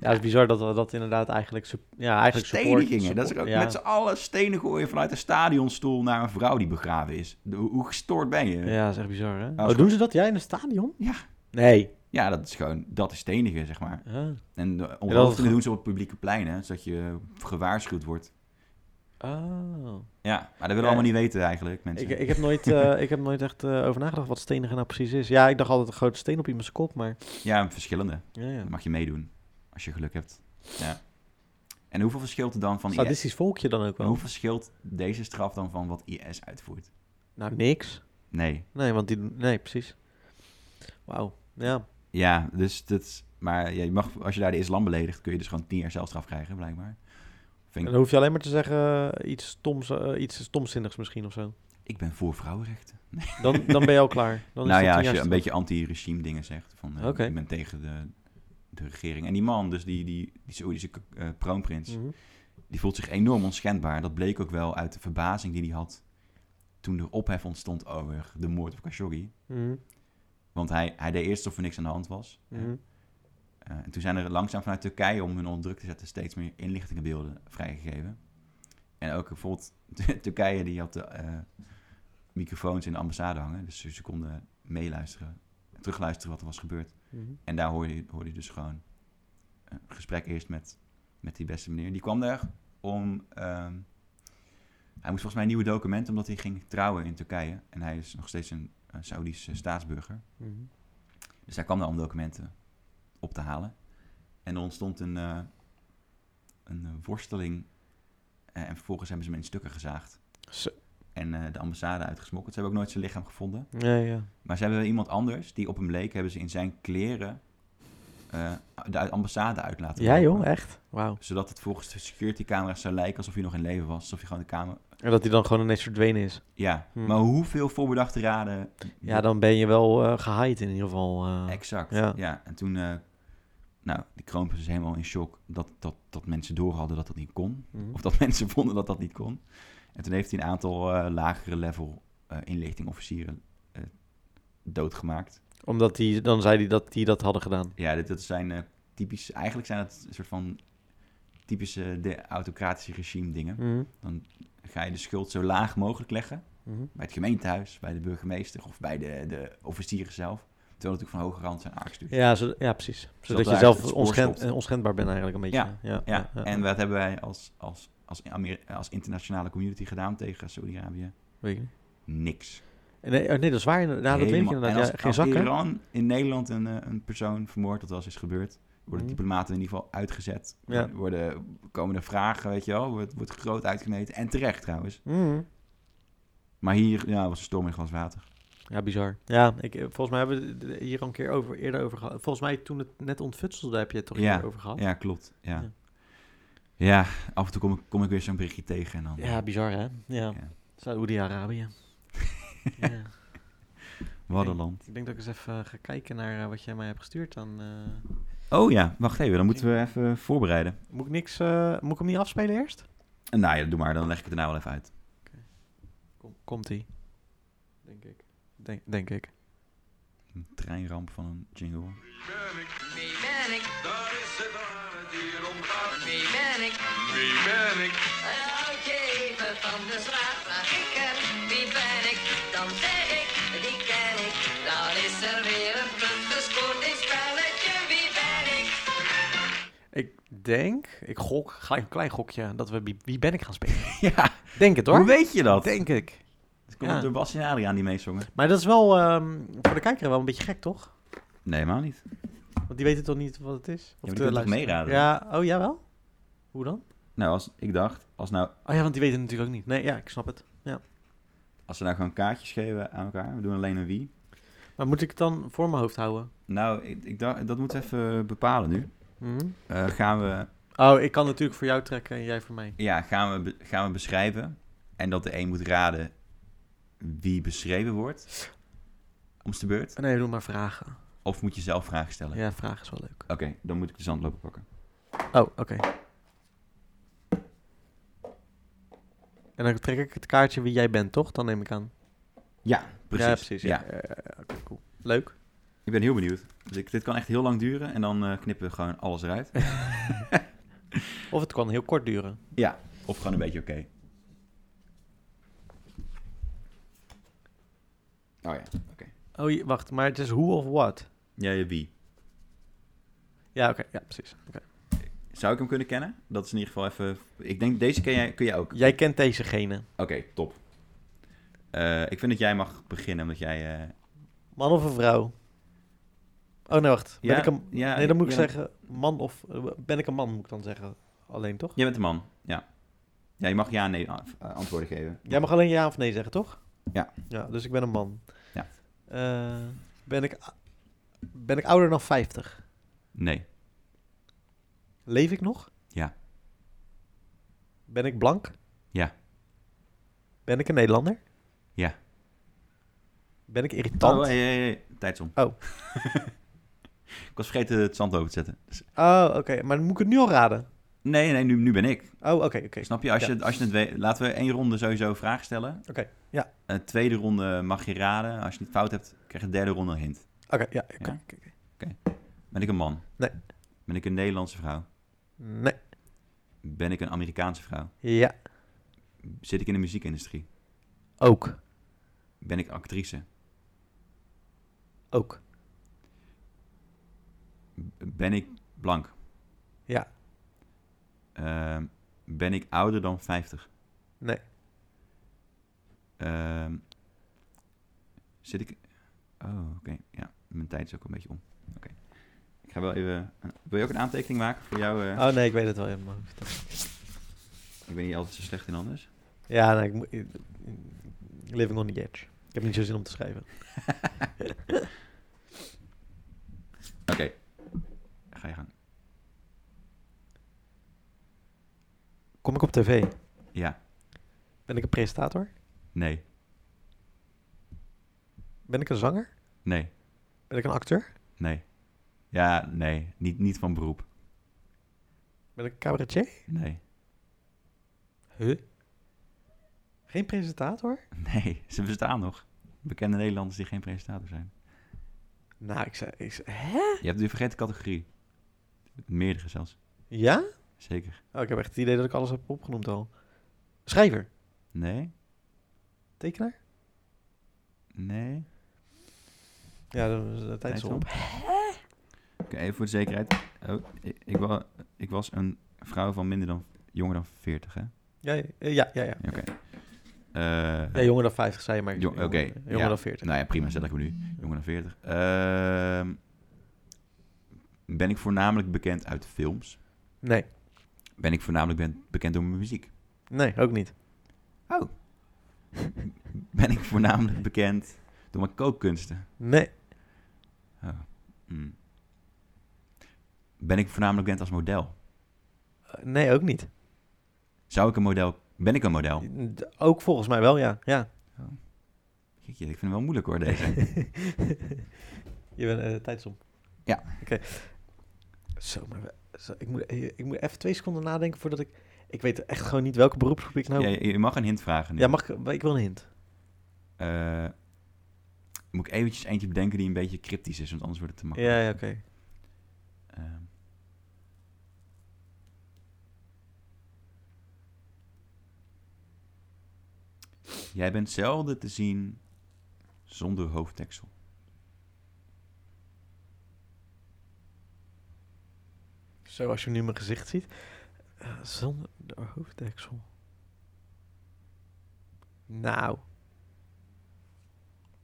Ja, het is bizar dat dat inderdaad eigenlijk... sup- Ja, eigenlijk support... Stenigingen. Dat is er ook support- ja. met z'n allen stenen gooien vanuit een stadionstoel naar een vrouw die begraven is. De- hoe- hoe gestoord ben je? Ja, dat is echt bizar, hè? is oh, doen ze dat? Ja, in een stadion? Ja. Nee. Ja, dat is gewoon, dat is stenigen, zeg maar. Ah. En eh, de dat is onthoofdingen gewoon- doen ze op het publieke plein, hè, zodat je gewaarschuwd wordt. Oh. Ja, maar dat willen we Ja. allemaal niet weten eigenlijk, mensen. Ik, ik, heb nooit, eh, [LAUGHS] ik heb nooit echt eh, over nagedacht wat stenigen nou precies is. Ja, ik dacht altijd een grote steen op iemands kop, maar... Ja, verschillende. Ja, ja. Dan mag je meedoen, als je geluk hebt. Ja. En hoeveel verschilt er dan van IS? Sadistisch volkje dan ook En wel. Hoeveel verschilt deze straf dan van wat IS uitvoert? Nou, niks. Nee. Nee, want die... doen- Nee, precies. Wauw. Ja. Ja, dus dat... is- Maar ja, je mag, als je daar de islam beledigt, kun je dus gewoon tien jaar celstraf krijgen, blijkbaar. Vind En ik- dan hoef je alleen maar te zeggen eh, iets stoms, eh, iets stomzinnigs misschien of zo. Ik ben voor vrouwenrechten. Nee. Dan, dan ben je al klaar. Dan is nou dat ja, de als je juiste een beetje anti-regime dingen zegt. Van, eh, Oké. Ik ben tegen de, de regering. En die man, dus die, die, die Saoedische eh, kroonprins, Mhm. die voelt zich enorm onschendbaar. Dat bleek ook wel uit de verbazing die hij had toen er ophef ontstond over de moord op Khashoggi. Mhm. Want hij, hij deed eerst of er niks aan de hand was. Mhm. Eh, en toen zijn er langzaam vanuit Turkije, om hun onder druk te zetten, steeds meer inlichtingenbeelden vrijgegeven. En ook bijvoorbeeld, [LAUGHS] Turkije die had de eh, microfoons in de ambassade hangen. Dus ze konden meeluisteren, terugluisteren wat er was gebeurd. Mhm. En daar hoorde je, hoorde je dus gewoon een gesprek eerst met, met die beste meneer. Die kwam daar om... ehm, hij moest volgens mij nieuwe documenten, omdat hij ging trouwen in Turkije. En hij is nog steeds een, een Saoedische staatsburger. Mhm. Dus hij kwam daar om documenten op te halen. En er ontstond een, eh, een eh, worsteling. Eh, en vervolgens hebben ze hem in stukken gezaagd. Zo. En eh, de ambassade uitgesmokkeld. Ze hebben ook nooit zijn lichaam gevonden. Ja, ja. Maar ze hebben wel iemand anders, die op hem leek, hebben ze in zijn kleren eh, de ambassade uit laten Ja, lopen. joh, echt? Wauw. Zodat het volgens de security camera's zou lijken alsof hij nog in leven was. Alsof je gewoon de kamer... En dat hij dan gewoon ineens verdwenen is. Ja, Hmm. maar hoeveel voorbedachte raden... Ja, dan ben je wel eh gehaaid in ieder geval. eh. Exact, Ja. ja. En toen, eh, nou, die kroonprins is helemaal in shock dat, dat, dat mensen doorhadden dat dat niet kon. Mhm. Of dat [LAUGHS] mensen vonden dat dat niet kon. En toen heeft hij een aantal eh, lagere level eh inlichtingofficieren eh, doodgemaakt. Omdat die, dan zei hij dat die dat hadden gedaan. Ja, dit, dat zijn eh, typisch, eigenlijk zijn het een soort van typische de autocratische regime dingen. Mhm. Ga je de schuld zo laag mogelijk leggen Mhm. bij het gemeentehuis, bij de burgemeester of bij de, de officieren zelf. Terwijl het natuurlijk van hoge rand zijn aangestuurd. Ja, zo, ja, precies. Zodat je daar zelf het spoor onschend, stopt. eh, onschendbaar bent eigenlijk een beetje. Ja, Ja, en wat hebben wij als, als, als, Amer- als internationale community gedaan tegen Saudi-Arabië? Weet ik niet. Niks. Nee, oh, nee, dat is waar. inderdaad. Ja, dat weet ik Helemaal- inderdaad. En als, Ja, geen als zakken. Iran in Nederland een, eh, een persoon vermoord, dat wel eens is gebeurd, worden Mhm. diplomaten in ieder geval uitgezet. Ja. Worden, komen er vragen, weet je wel, wordt, wordt groot uitgemeten. En terecht trouwens. Mhm. Maar hier ja, was een storm in een glas water. Ja, bizar. Ja, ik, eh, volgens mij hebben we het d- hier al een keer over, eerder over gehad. Volgens mij toen het net ontfutselde heb je het toch Ja, hier over gehad. Ja, klopt. Ja, Ja. ja. af en toe kom ik, kom ik weer zo'n berichtje tegen en dan... Ja, bizar hè? Ja. Ja. [LAUGHS] Saoedi-Arabië. ja. eh, Wat een land. Ik denk dat ik eens even eh, ga kijken naar eh, wat jij mij hebt gestuurd. Dan eh, Oh ja, wacht even, dan moeten we even voorbereiden. moet ik niks, eh, moet ik hem niet afspelen eerst? En nou ja, doe maar, dan leg ik het daarna wel even uit. Kom, komt ie. Denk ik. Denk, denk ik. Een treinramp van een jingle. [LAUGHS] ben ik, Wie ben ik? daar is het ware dier omgaat. Wie ben ik? Wie ben ik, Een oudje even van de straat, maar ik ken. Wie ben ik? Dan zeg ik, die ken ik. Dan is er weer een punt gescoord in spelletje. Wie ben ik? Ik denk, ik gok, ga een klein gokje, dat we Wie- Wie Ben Ik gaan spelen. Ja, Denk het hoe hoor. weet je dat? Denk ik. Het komt Ja. door Bas en Adriaan die meezongen. Maar dat is wel ehm, voor de kijker wel een beetje gek, toch? Nee, helemaal niet. Want die weten toch niet wat het is? maar die de kunnen toch luisteraar? meeraden? Ja, oh ja wel? Hoe dan? Nou, als, ik dacht, als, nou, Oh ja, want die weten het natuurlijk ook niet. Nee, ja, ik snap het. als ze nou gewoon kaartjes geven aan elkaar, we doen alleen een wie. Maar moet ik het dan voor mijn hoofd houden? Nou, ik, ik dacht, dat moeten we even bepalen nu. Mhm. Eh, gaan, we, Oh, ik kan natuurlijk voor jou trekken en jij voor mij. ja, gaan, we, be- gaan we beschrijven en dat de een moet raden wie beschreven wordt. Om de beurt. Oh, Nee, doe maar vragen. Of moet je zelf vragen stellen? Ja, vragen is wel leuk. Oké, dan moet ik de zandloper pakken. Oh, oké. En dan trek ik het kaartje wie jij bent, toch? Dan neem ik aan. Ja, precies. Ja, precies. Ja. Eh, oké, cool. Leuk. Ik ben heel benieuwd. Dus ik, dit kan echt heel lang duren en dan eh, knippen we gewoon alles eruit. Of het kan heel kort duren. Ja, of gewoon een beetje oké. Oh ja, oké. Oh, je- wacht, maar het is hoe of what? Ja, je wie. Ja, oké. ja, precies. Oké. Zou ik hem kunnen kennen? Dat is in ieder geval even... Ik denk, deze ken jij, kun jij ook. Jij kent deze gene. Oké, top. Eh, ik vind dat jij mag beginnen, omdat jij... eh, Man of een vrouw? Oh, nee, wacht. Ben ja, ik een... ja, Nee, dan moet ik ja, zeggen man of... eh, Ben ik een man, moet ik dan zeggen. Alleen, toch? Jij bent een man, ja. Ja, je mag ja en nee a- eh, antwoorden geven. Jij mag alleen ja of nee zeggen, toch? Ja. Ja, dus ik ben een man. Ja. Eh, ben, ik, a- ben ik ouder dan 50? Nee. Leef ik nog? Ja. Ben ik blank? Ja. Ben ik een Nederlander? Ja. Ben ik irritant? Oh, hey, hey, hey. Tijdsom. Oh. [LAUGHS] ik was vergeten het zand over te zetten. Dus- Oh, oké. Maar dan moet ik het nu al raden. nee, nee, nu, nu ben ik. Oh, oké, oké. Snap je? Als je, als je het weet, laten we één ronde sowieso vragen stellen. Oké, ja. Een tweede ronde mag je raden. Als je het fout hebt, krijg je een derde ronde een hint. Oké, ja. oké, Ja? oké, oké. Ben ik een man? Nee. Ben ik een Nederlandse vrouw? Nee. Ben ik een Amerikaanse vrouw? Ja. Zit ik in de muziekindustrie? Ook. Ben ik actrice? Ook. B- Ben ik blank? Ja. Ehm, ben ik ouder dan 50? Nee. Ehm, zit ik... Oh, oké. Ja, mijn tijd is ook een beetje om. Oké. Ik ga wel even... Wil je ook een aantekening maken voor jou? eh? Oh nee, ik weet het wel in mijn hoofd. Ik ben hier altijd zo slecht in anders. Ja, nee, ik moet... Living on the edge. Ik heb niet zo zin om te schrijven. Oké. Ga je gang. Kom ik op tv? Ja. Ben ik een presentator? Nee. Ben ik een zanger? Nee. Ben ik een acteur? Nee. Ja, nee. Niet, niet van beroep. Ben ik een cabaretier? Nee. Huh? Geen presentator? Nee. Ze bestaan nog. Bekende Nederlanders die geen presentator zijn. Nou, ik zei... Ik zei hè? Je hebt de vergeten categorie. Meerdere zelfs. Ja? Zeker. Oh, ik heb echt het idee dat ik alles heb opgenoemd al. Schrijver? Nee. Tekenaar? Nee. Ja, dan is de tijd is Tijd om. op. Oké, even voor de zekerheid. Oh, ik, ik, wa- ik was een vrouw van minder dan... Jonger dan 40, hè? Ja, ja, ja. ja, ja. Oké. Eh, Ja, jonger dan 50 zei je, maar Jong- jonger, oké, jonger ja. dan 40. Nou ja, prima, zet ik hem nu. Jonger dan 40. Ehm, ben ik voornamelijk bekend uit films? Nee, Ben ik voornamelijk ben- bekend door mijn muziek? [LAUGHS] nee, ook niet. Ben ik voornamelijk bekend door mijn kookkunsten? Nee, Oh, hmm. Ben ik voornamelijk bekend als model? eh, nee, ook niet. Zou ik een model... Ben ik een model? D- Ook volgens mij wel, ja. ja. Jeetje, ik vind hem wel moeilijk hoor, deze. [LAUGHS] Je bent eh tijd is om. Ja. Oké. Zo, maar we- zo, ik, moet, eh, ik moet even twee seconden nadenken voordat ik... Ik weet echt gewoon niet welke beroepsgroep ik nou... Ja, je je mag een hint vragen nu. Ja, mag ik... Ik wil een hint. Eh, moet ik eventjes eentje bedenken die een beetje cryptisch is, want anders wordt het te makkelijk. Ja, ja, oké. Ehm. Jij bent zelden te zien zonder hoofddeksel. Zoals je nu mijn gezicht ziet. Eh, zonder de hoofddeksel. Nou,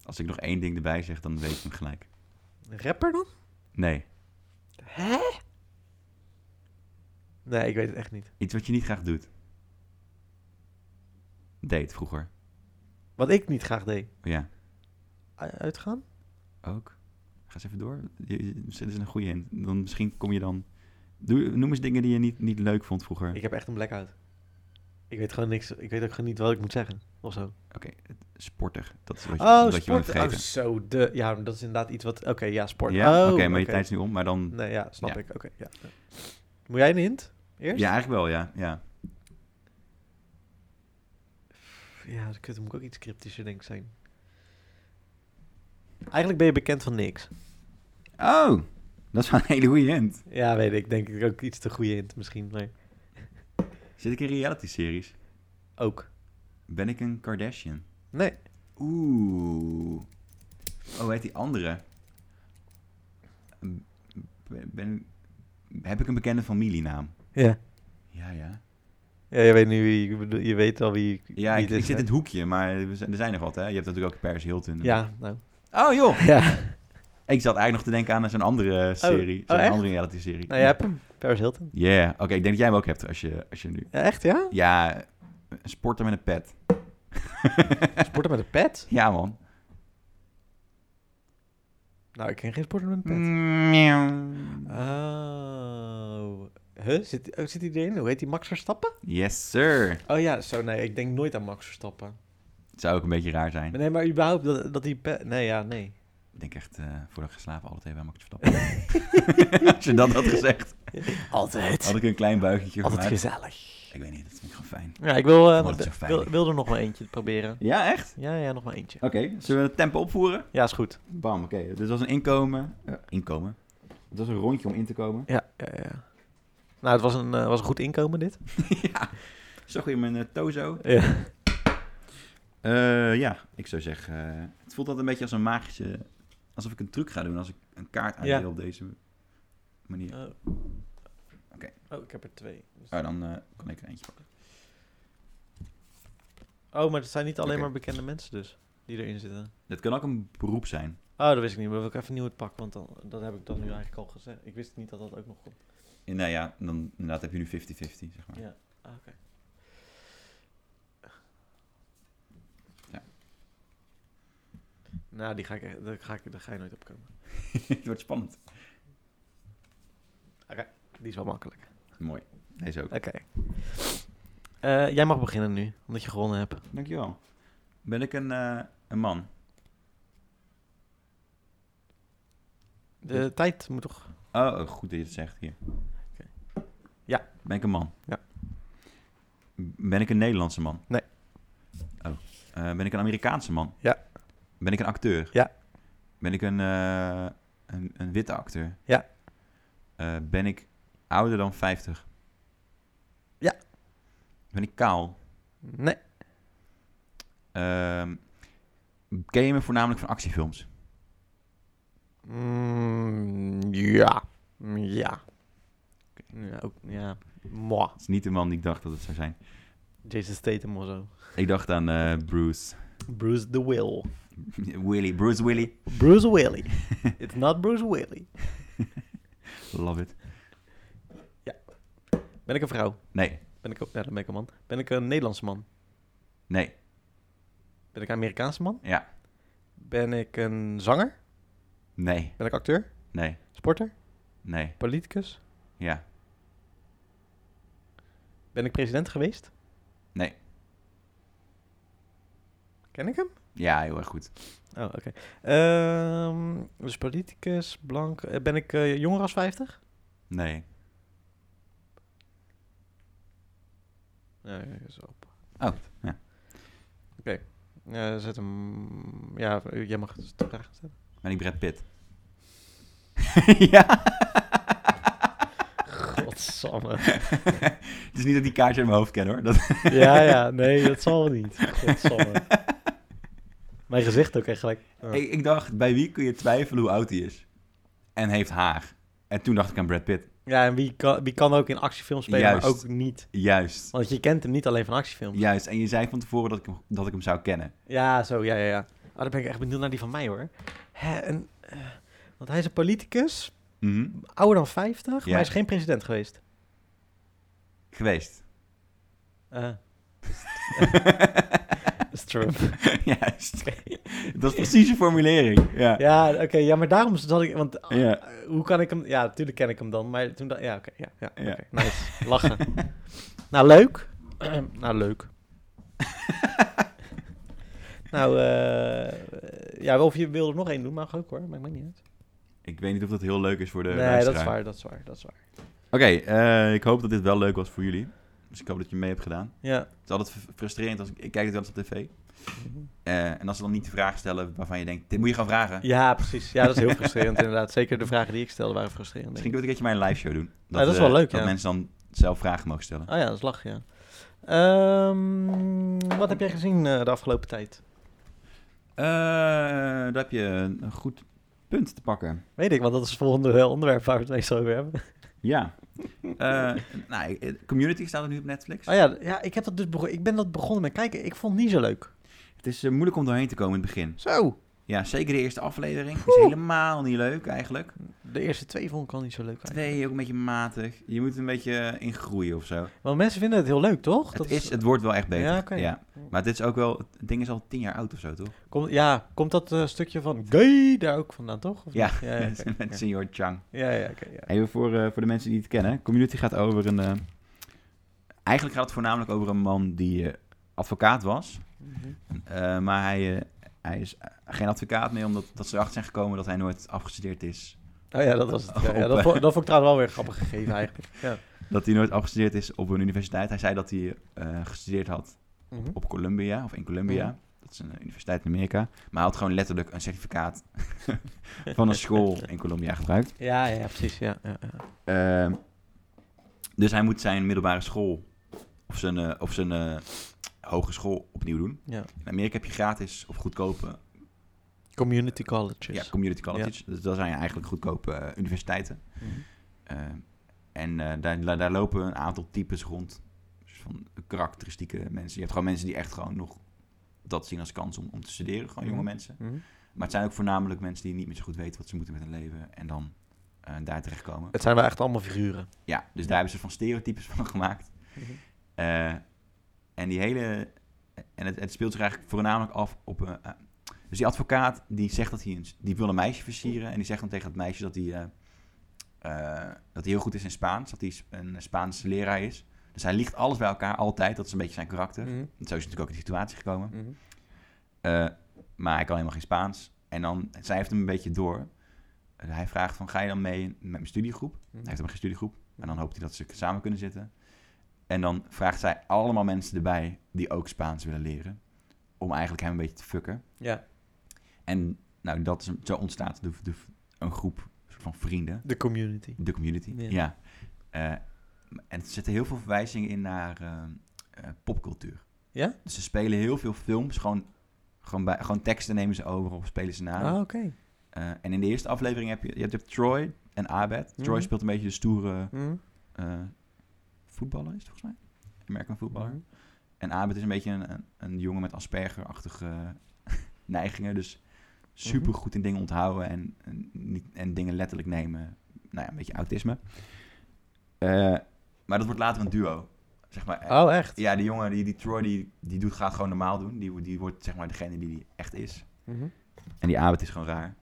Als ik nog één ding erbij zeg, dan weet ik hem gelijk. rapper dan? Nee, Hè? Nee, ik weet het echt niet. iets wat je niet graag doet. Deed vroeger. Wat ik niet graag deed. Oh ja, U- Uitgaan? ook. Ga eens even door. Je- je- Dit is een goede hint. Dan misschien kom je dan... Doe, noem eens dingen die je niet, niet leuk vond vroeger. Ik heb echt een blackout. Ik weet gewoon niks. Ik weet ook gewoon niet wat ik moet zeggen. Of zo. Oké, het- sportig. Dat is wat je, Oh, wat je bent sport. Oh, vergeten. zo. De, ja, maar dat is inderdaad iets wat... Oké, ja, sport. Ja, Oh, oké, maar je tijd is nu om. Maar dan... Nee, ja, snap Ja. ik. Oké, ja. ja. Moet jij een hint? Eerst? Ja, eigenlijk wel, ja. ja. Ja, dat kut, dan moet ik ook iets cryptischer denk ik zijn. Eigenlijk ben je bekend van niks. Oh, dat is wel een hele goede hint. Ja, weet ik. Denk ik ook iets te goede hint misschien, maar Zit ik in reality-series? ook. Ben ik een Kardashian? Nee. Oeh. Oh, hoe heet die andere? Ben, ben- heb ik een bekende familienaam? Ja. Ja, ja. Ja, je weet nu wie, ik bedoel- je weet al wie, Ja, wie ik, ik zit in hè? het hoekje, maar we zijn- er zijn er wat, hè? Je hebt natuurlijk ook Paris Hilton. Ja, nou. Oh, joh. Ja. Ik zat eigenlijk nog te denken aan zo'n andere serie. oh, zo'n echt? andere reality-serie. Nou, je hebt hem. Paris Hilton. Yeah. Oké, ik denk dat jij hem ook hebt als je, als je nu... Ja, echt, ja? Ja, een sporter met een pet. Sporter met een pet? [LAUGHS] Ja, man. Nou, ik ken geen sporter met een pet. Oh. Huh? Zit, oh, zit hij erin? Hoe heet die? Max Verstappen? Yes, sir. Oh ja, zo nee. Ik denk nooit aan Max Verstappen. Het zou ook een beetje raar zijn. Nee, maar überhaupt dat, dat die... pe- Nee, ja, nee. Ik denk echt, eh voordat ik ga slapen, alle twee bij Max Verstappen. [LAUGHS] Als je dat had gezegd, Altijd. had ik een klein buigetje Altijd gemaakt. gezellig. Ik weet niet, dat vind ik gewoon fijn. Ja, ik wil, eh, Oh, dat is zo fijn. wil, wil er nog maar eentje proberen. Ja, echt? Ja, ja, nog maar eentje. Oké, zullen we het tempo opvoeren? Ja, is goed. Bam, oké. Dit was een inkomen. Ja, inkomen? Het was een rondje om in te komen. Ja, ja, ja. Nou, het was een, eh, was een goed inkomen, dit. ja, zag je mijn eh, tozo? Ja. Eh, ja, ik zou zeggen, eh, het voelt altijd een beetje als een magische... Alsof ik een truc ga doen als ik een kaart uitdeel op deze manier. Oké. Eh, Oh, ik heb er twee. Dus- Ah, dan eh, kan ik er eentje pakken. Oh, maar het zijn niet alleen Oké. maar bekende mensen dus, die erin zitten. Dat kan ook een beroep zijn. Oh, dat wist ik niet, maar wil ik even nieuw het pak, want dan, dat heb ik dan nu eigenlijk al gezegd. Ik wist niet dat dat ook nog komt. En, nou ja, dan inderdaad heb je nu 50-50, zeg maar. Ja. Ah, oké. Ja. Nou, die ga ik, echt- daar, ga ik, daar ga je nooit op komen. [LAUGHS] het wordt spannend. Die is wel makkelijk. Mooi. Deze ook. Oké. Eh, jij mag beginnen nu, omdat je gewonnen hebt. Dankjewel. Ben ik een, eh, een man? De tijd moet toch... Oh, oh, goed dat je het zegt hier. Oké. Ja. Ben ik een man? Ja. Ben ik een Nederlandse man? Nee. Oh. Eh, ben ik een Amerikaanse man? Ja. Ben ik een acteur? Ja. Ben ik een, eh, een, een witte acteur? Ja. Eh, ben ik ouder dan 50? Ja. Ben ik kaal? Nee. Ehm, ken je me voornamelijk van actiefilms? Mm, ja. Ja. Ja, ook, ja. Mwah. Het is niet de man die ik dacht dat het zou zijn. Jason Statham of zo. Ik dacht aan eh, Bruce. [LAUGHS] Bruce the Will. Willy, Bruce Willy. Bruce Willy. It's not Bruce Willy. Love it. Ben ik een vrouw? Nee, Ben ik ook... Ja, dan ben ik een man. Ben ik een Nederlandse man? nee, Ben ik een Amerikaanse man? ja, Ben ik een zanger? nee, Ben ik acteur? nee, Sporter? nee, Politicus? ja, Ben ik president geweest? nee. Ken ik hem? Ja, heel erg goed. Oh, oké. Ehm, dus politicus, blank. Eh, Ben ik eh, jonger als 50? Nee. Nee, is op. Oh, ja. Oké. Eh, zet hem... Ja, jij mag het de vraag stellen. [LAUGHS] Ben ik Brad Pitt? ja. Godsamme. Het is niet dat ik die kaartje in mijn hoofd ken hoor. Dat... ja, ja. Nee, dat zal wel niet. [LAUGHS] Godsamme. Mijn gezicht ook echt gelijk. Oh. Ik, ik dacht, bij wie kun je twijfelen hoe oud hij is? En heeft haar. En toen dacht ik aan Brad Pitt. Ja, en wie kan, wie kan ook in actiefilms spelen, Juist. maar ook niet. Juist. Want je kent hem niet alleen van actiefilms. Ja, Juist. En je zei van tevoren dat ik hem, dat ik hem zou kennen. zo, ja, ja, ja. Oh, dan ben ik echt benieuwd naar die van mij, hoor. Hè, en, eh, want hij is een politicus, Mhm. ouder dan 50, maar Ja. hij is geen president geweest. Geweest. [LAUGHS] Eh dat is Trump. Juist. Dat is precies je formulering. [LAUGHS] Ja. Ja, oké, ja, maar daarom zat ik... Want ah, Ja. eh, hoe kan ik hem... Ja, natuurlijk ken ik hem dan, maar toen... dacht- Ja, oké, ja, ja, Ja. oké, [LAUGHS] nice. Lachen. nou, leuk. [CLEARS THROAT] nou, [LAUGHS] leuk. nou, eh, ja, of je wilde er nog één doen, mag ook hoor. Maakt me niet uit. Ik weet niet of dat heel leuk is voor de nee, dat is luisteraar. waar, dat is waar, dat is waar. Oké, eh, ik hoop dat dit wel leuk was voor jullie. Dus ik hoop dat je mee hebt gedaan. Ja. Het is altijd fr- frustrerend als ik, ik kijk het wel eens op tv. Mhm. Eh, en als ze dan niet de vraag stellen waarvan je denkt, dit moet je gaan vragen. ja, precies. Ja, dat is heel frustrerend inderdaad. Zeker de vragen die ik stelde waren frustrerend. denk Misschien ik. kun je een keertje mijn live show doen. Ja, dat is wel eh, leuk, Dat ja. mensen dan zelf vragen mogen stellen. Oh ja, dat is lach, ja. Ehm, wat heb jij gezien eh, de afgelopen tijd? Eh, daar heb je een een goed punt te pakken. Weet ik, want dat is het volgende [LAUGHS] eh, onderwerp waar we het meestal over hebben. Ja. Eh, nou, eh, Community staat er nu op Netflix. Oh ja, ja ik, heb dat dus begon, ik ben dat begonnen met kijken. Ik vond het niet zo leuk. Het is eh, moeilijk om doorheen te komen in het begin. Zo. Ja, zeker de eerste aflevering. Is helemaal niet leuk eigenlijk. De eerste twee vond ik al niet zo leuk. eigenlijk. Twee, ook een beetje matig. Je moet een beetje eh, in groeien of zo. Want mensen vinden het heel leuk, toch? Het, is, het wordt wel echt beter. Ja, Ja, oké. Maar dit is ook wel, het ding is al tien jaar oud of zo, toch? Komt, ja, komt dat eh, stukje van gay daar ook vandaan, toch? Of Ja, niet? Ja, [LAUGHS] ja, oké. met Senior Chang. ja, ja, oké, ja. Even voor, eh, voor de mensen die het kennen. Community gaat over een... eh, eigenlijk gaat het voornamelijk over een man die eh, advocaat was. Mhm. Eh, maar hij, eh, hij is eh, geen advocaat meer, omdat dat ze erachter zijn gekomen dat hij nooit afgestudeerd is. Oh ja, dat was het. Ja, ja, Op, dat, eh. vond, dat vond ik trouwens wel weer grappig gegeven [LAUGHS] eigenlijk. Ja. Dat hij nooit afgestudeerd is op een universiteit. Hij zei dat hij eh, gestudeerd had Mhm. op Columbia, of in Columbia. Ja. Dat is een eh, universiteit in Amerika. Maar hij had gewoon letterlijk een certificaat [LAUGHS] van een school in Columbia gebruikt. Ja, ja, precies. Ja, ja, ja. Ehm, dus hij moet zijn middelbare school of zijn, eh, of zijn eh, hogeschool opnieuw doen. Ja. In Amerika heb je gratis of goedkope Community colleges. Ja, community colleges. Dus dat zijn eigenlijk goedkope eh, universiteiten. Mhm. Eh, en eh, daar, daar- daar lopen een aantal types rond. Dus van karakteristieke mensen. Je hebt gewoon mensen die echt gewoon nog dat zien als kans om, om te studeren. Gewoon jonge Mhm. mensen. Mhm. Maar het zijn ook voornamelijk mensen die niet meer zo goed weten wat ze moeten met hun leven. En dan eh, daar terechtkomen. Het zijn wel echt allemaal figuren. Ja, dus daar hebben ze van stereotypes [LAUGHS] van gemaakt. Mhm. Eh, en die hele. En het, het speelt zich eigenlijk voornamelijk af op. eh, eh, dus die advocaat die zegt dat hij een, die wil een meisje versieren. En die zegt dan tegen het meisje dat hij, eh, eh, dat hij heel goed is in Spaans. Dat hij Sp- een Spaanse leraar is. Dus hij liegt alles bij elkaar altijd. Dat is een beetje zijn karakter. Mhm. En Zo is hij natuurlijk ook in die situatie gekomen. Mhm. Eh, maar hij kan helemaal geen Spaans. En dan, zij heeft hem een beetje door. Eh, hij vraagt van, ga je dan mee met mijn studiegroep? Hij heeft hem geen studiegroep. En dan hoopt hij dat ze samen kunnen zitten. En dan vraagt zij allemaal mensen erbij die ook Spaans willen leren. Om eigenlijk hem een beetje te fucken. Ja. En nou, dat is, zo ontstaat de, de, een groep soort van vrienden. De community. De community. Ja. Ja. Eh, en er zitten heel veel verwijzingen in naar eh, eh, popcultuur. Ja? Dus ze spelen heel veel films. Gewoon, gewoon, bij, gewoon teksten nemen ze over of spelen ze na. Ah, oké. Eh, en in de eerste aflevering heb je, je hebt, je hebt Troy en Abed. Troy Mhm. speelt een beetje de stoere Mhm. eh, voetballer is, het volgens mij. American voetballer. En Abed is een beetje een, een, een jongen met Asperger-achtige [LAUGHS] neigingen. Dus super Mhm. goed in dingen onthouden en, en, niet, en dingen letterlijk nemen. Nou ja, een beetje autisme. Eh, maar dat wordt later een duo. Zeg maar, eh, Oh, echt? Ja, die jongen, die, die Troy, die, die doet, gaat gewoon normaal doen. Die, die wordt zeg maar degene die die echt is. Mhm. En die Abed is gewoon raar.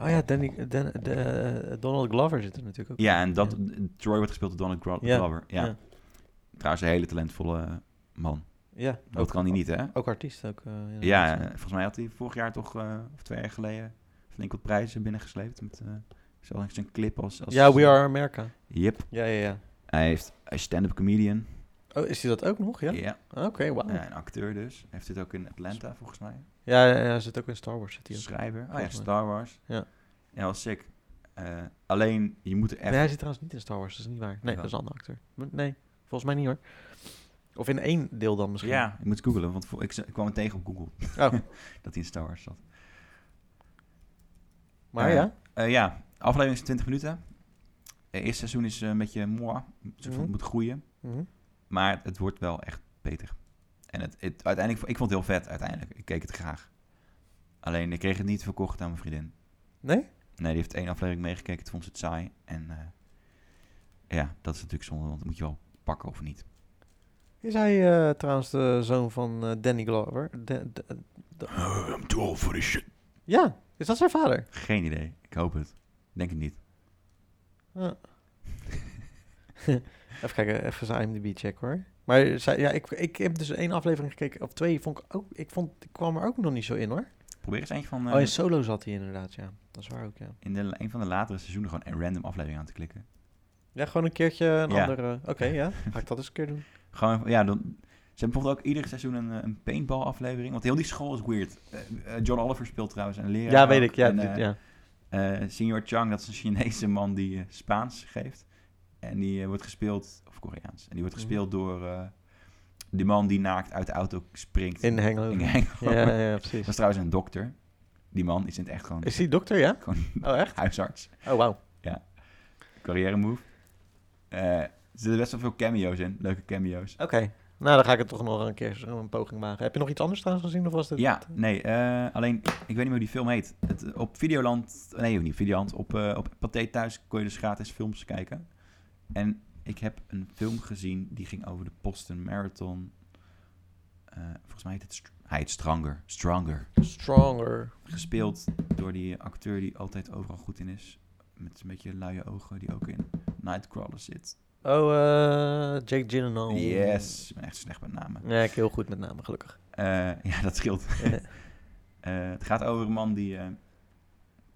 Oh ja, Danny, Dan, de, eh, Donald Glover zit er natuurlijk ook. Ja, en dat, Troy wordt gespeeld door Donald Gro- Ja, Glover. Ja. ja. Trouwens, een hele talentvolle man. Ja, Dat kan hij niet, hè? ook artiest. Ook, eh, inderdaad. Ja, eh, volgens mij had hij vorig jaar toch, eh, of twee jaar geleden, flink wat prijzen binnengesleept. Met eh zo'n zo'n clip als... als ja, We Are America. Yep. Ja, ja, ja. Hij, heeft, hij is stand-up comedian. Oh, is hij dat ook nog? Ja. Ah, Ja. Oké, wauw. Ja, een acteur dus. Hij heeft dit ook in Atlanta, volgens mij. Ja, ja, ja, hij zit ook in Star Wars. Zit hij, ook. Schrijver. Oh ja, Volgens mij. Star Wars. Ja. Ja, was sick. Eh, alleen, je moet er echt... Nee, hij zit trouwens niet in Star Wars. Dat is niet waar. Nee, Ja. dat is een andere acteur. M- Nee, volgens mij niet hoor. Of in één deel dan misschien. Ja, je moet googlen, want vo- ik, z- ik kwam het tegen op Google. Oh. [LAUGHS] dat hij in Star Wars zat. Maar Eh, ja. Eh, ja, aflevering is 20 minuten. Het eerste seizoen is eh, een beetje mooi. Mhm. Het moet groeien. Mhm. Maar het, het wordt wel echt beter. En het, het, uiteindelijk, ik vond het heel vet uiteindelijk. Ik keek het graag. Alleen ik kreeg het niet verkocht aan mijn vriendin. Nee? Nee, die heeft één aflevering meegekeken. Toen vond ze het saai. En eh, ja, dat is natuurlijk zonde. Want dat moet je wel pakken of niet. Is hij eh, trouwens de zoon van eh, Danny Glover? De- de- [LAUGHS] I'm too old for this shit. ja, is dat zijn vader? Geen idee. Ik hoop het. Denk het niet. Even kijken, even zijn IMDb check hoor. Maar zij, ja, ik, ik heb dus één aflevering gekeken, of twee, vond ik ook, ik, vond, ik kwam er ook nog niet zo in hoor. Probeer eens een van, eh, oh, in Solo zat hij inderdaad, ja. Dat is waar ook, ja. in de, een van de latere seizoenen gewoon een random aflevering aan te klikken. Ja, gewoon een keertje een Ja. andere... Oké, [LAUGHS] ja, ga ik dat eens een keer doen. Gewoon, ja, dan, ze hebben bijvoorbeeld ook ieder seizoen een, eh, een paintball aflevering. Want heel die school is weird. Eh, eh, John Oliver speelt trouwens een Ja, leraar. weet ook. ik, ja. En, dit- eh, ja. eh, Senior Chang, dat is een Chinese man die eh, Spaans geeft. En die eh, wordt gespeeld, of Koreaans. En die wordt Mhm. gespeeld door eh, de man die naakt uit de auto springt. In Hangover. Hangover. Ja, ja, [LAUGHS] Dat precies. is trouwens een dokter. Die man is in het echt gewoon, Is hij dokter, ja? [LAUGHS] gewoon Oh, echt? huisarts. Oh, wauw. Carrière move. Eh, er zitten best wel veel cameo's in. Leuke cameo's. Oké. Nou, dan ga ik het toch nog een keer zo een poging maken. Heb je nog iets anders trouwens gezien, of was dit... Ja, nee, eh, alleen ik weet niet meer hoe die film heet. Het, eh, op Videoland, nee, ook niet Videoland, op, eh op Pathé Thuis kon je dus gratis films kijken. En ik heb een film gezien die ging over de Boston Marathon. Eh, volgens mij heet het, Str- hij heet Stronger, Stronger. Stronger. Gespeeld door die acteur die altijd overal goed in is. Met een beetje luie ogen, die ook in Nightcrawler zit. Oh, eh, Jake Gyllenhaal. Yes, ik ben echt slecht met namen. Ja, ik heel goed met namen, gelukkig. Eh, [LAUGHS] ja, dat scheelt. Ja. Eh, het gaat over een man die... eh,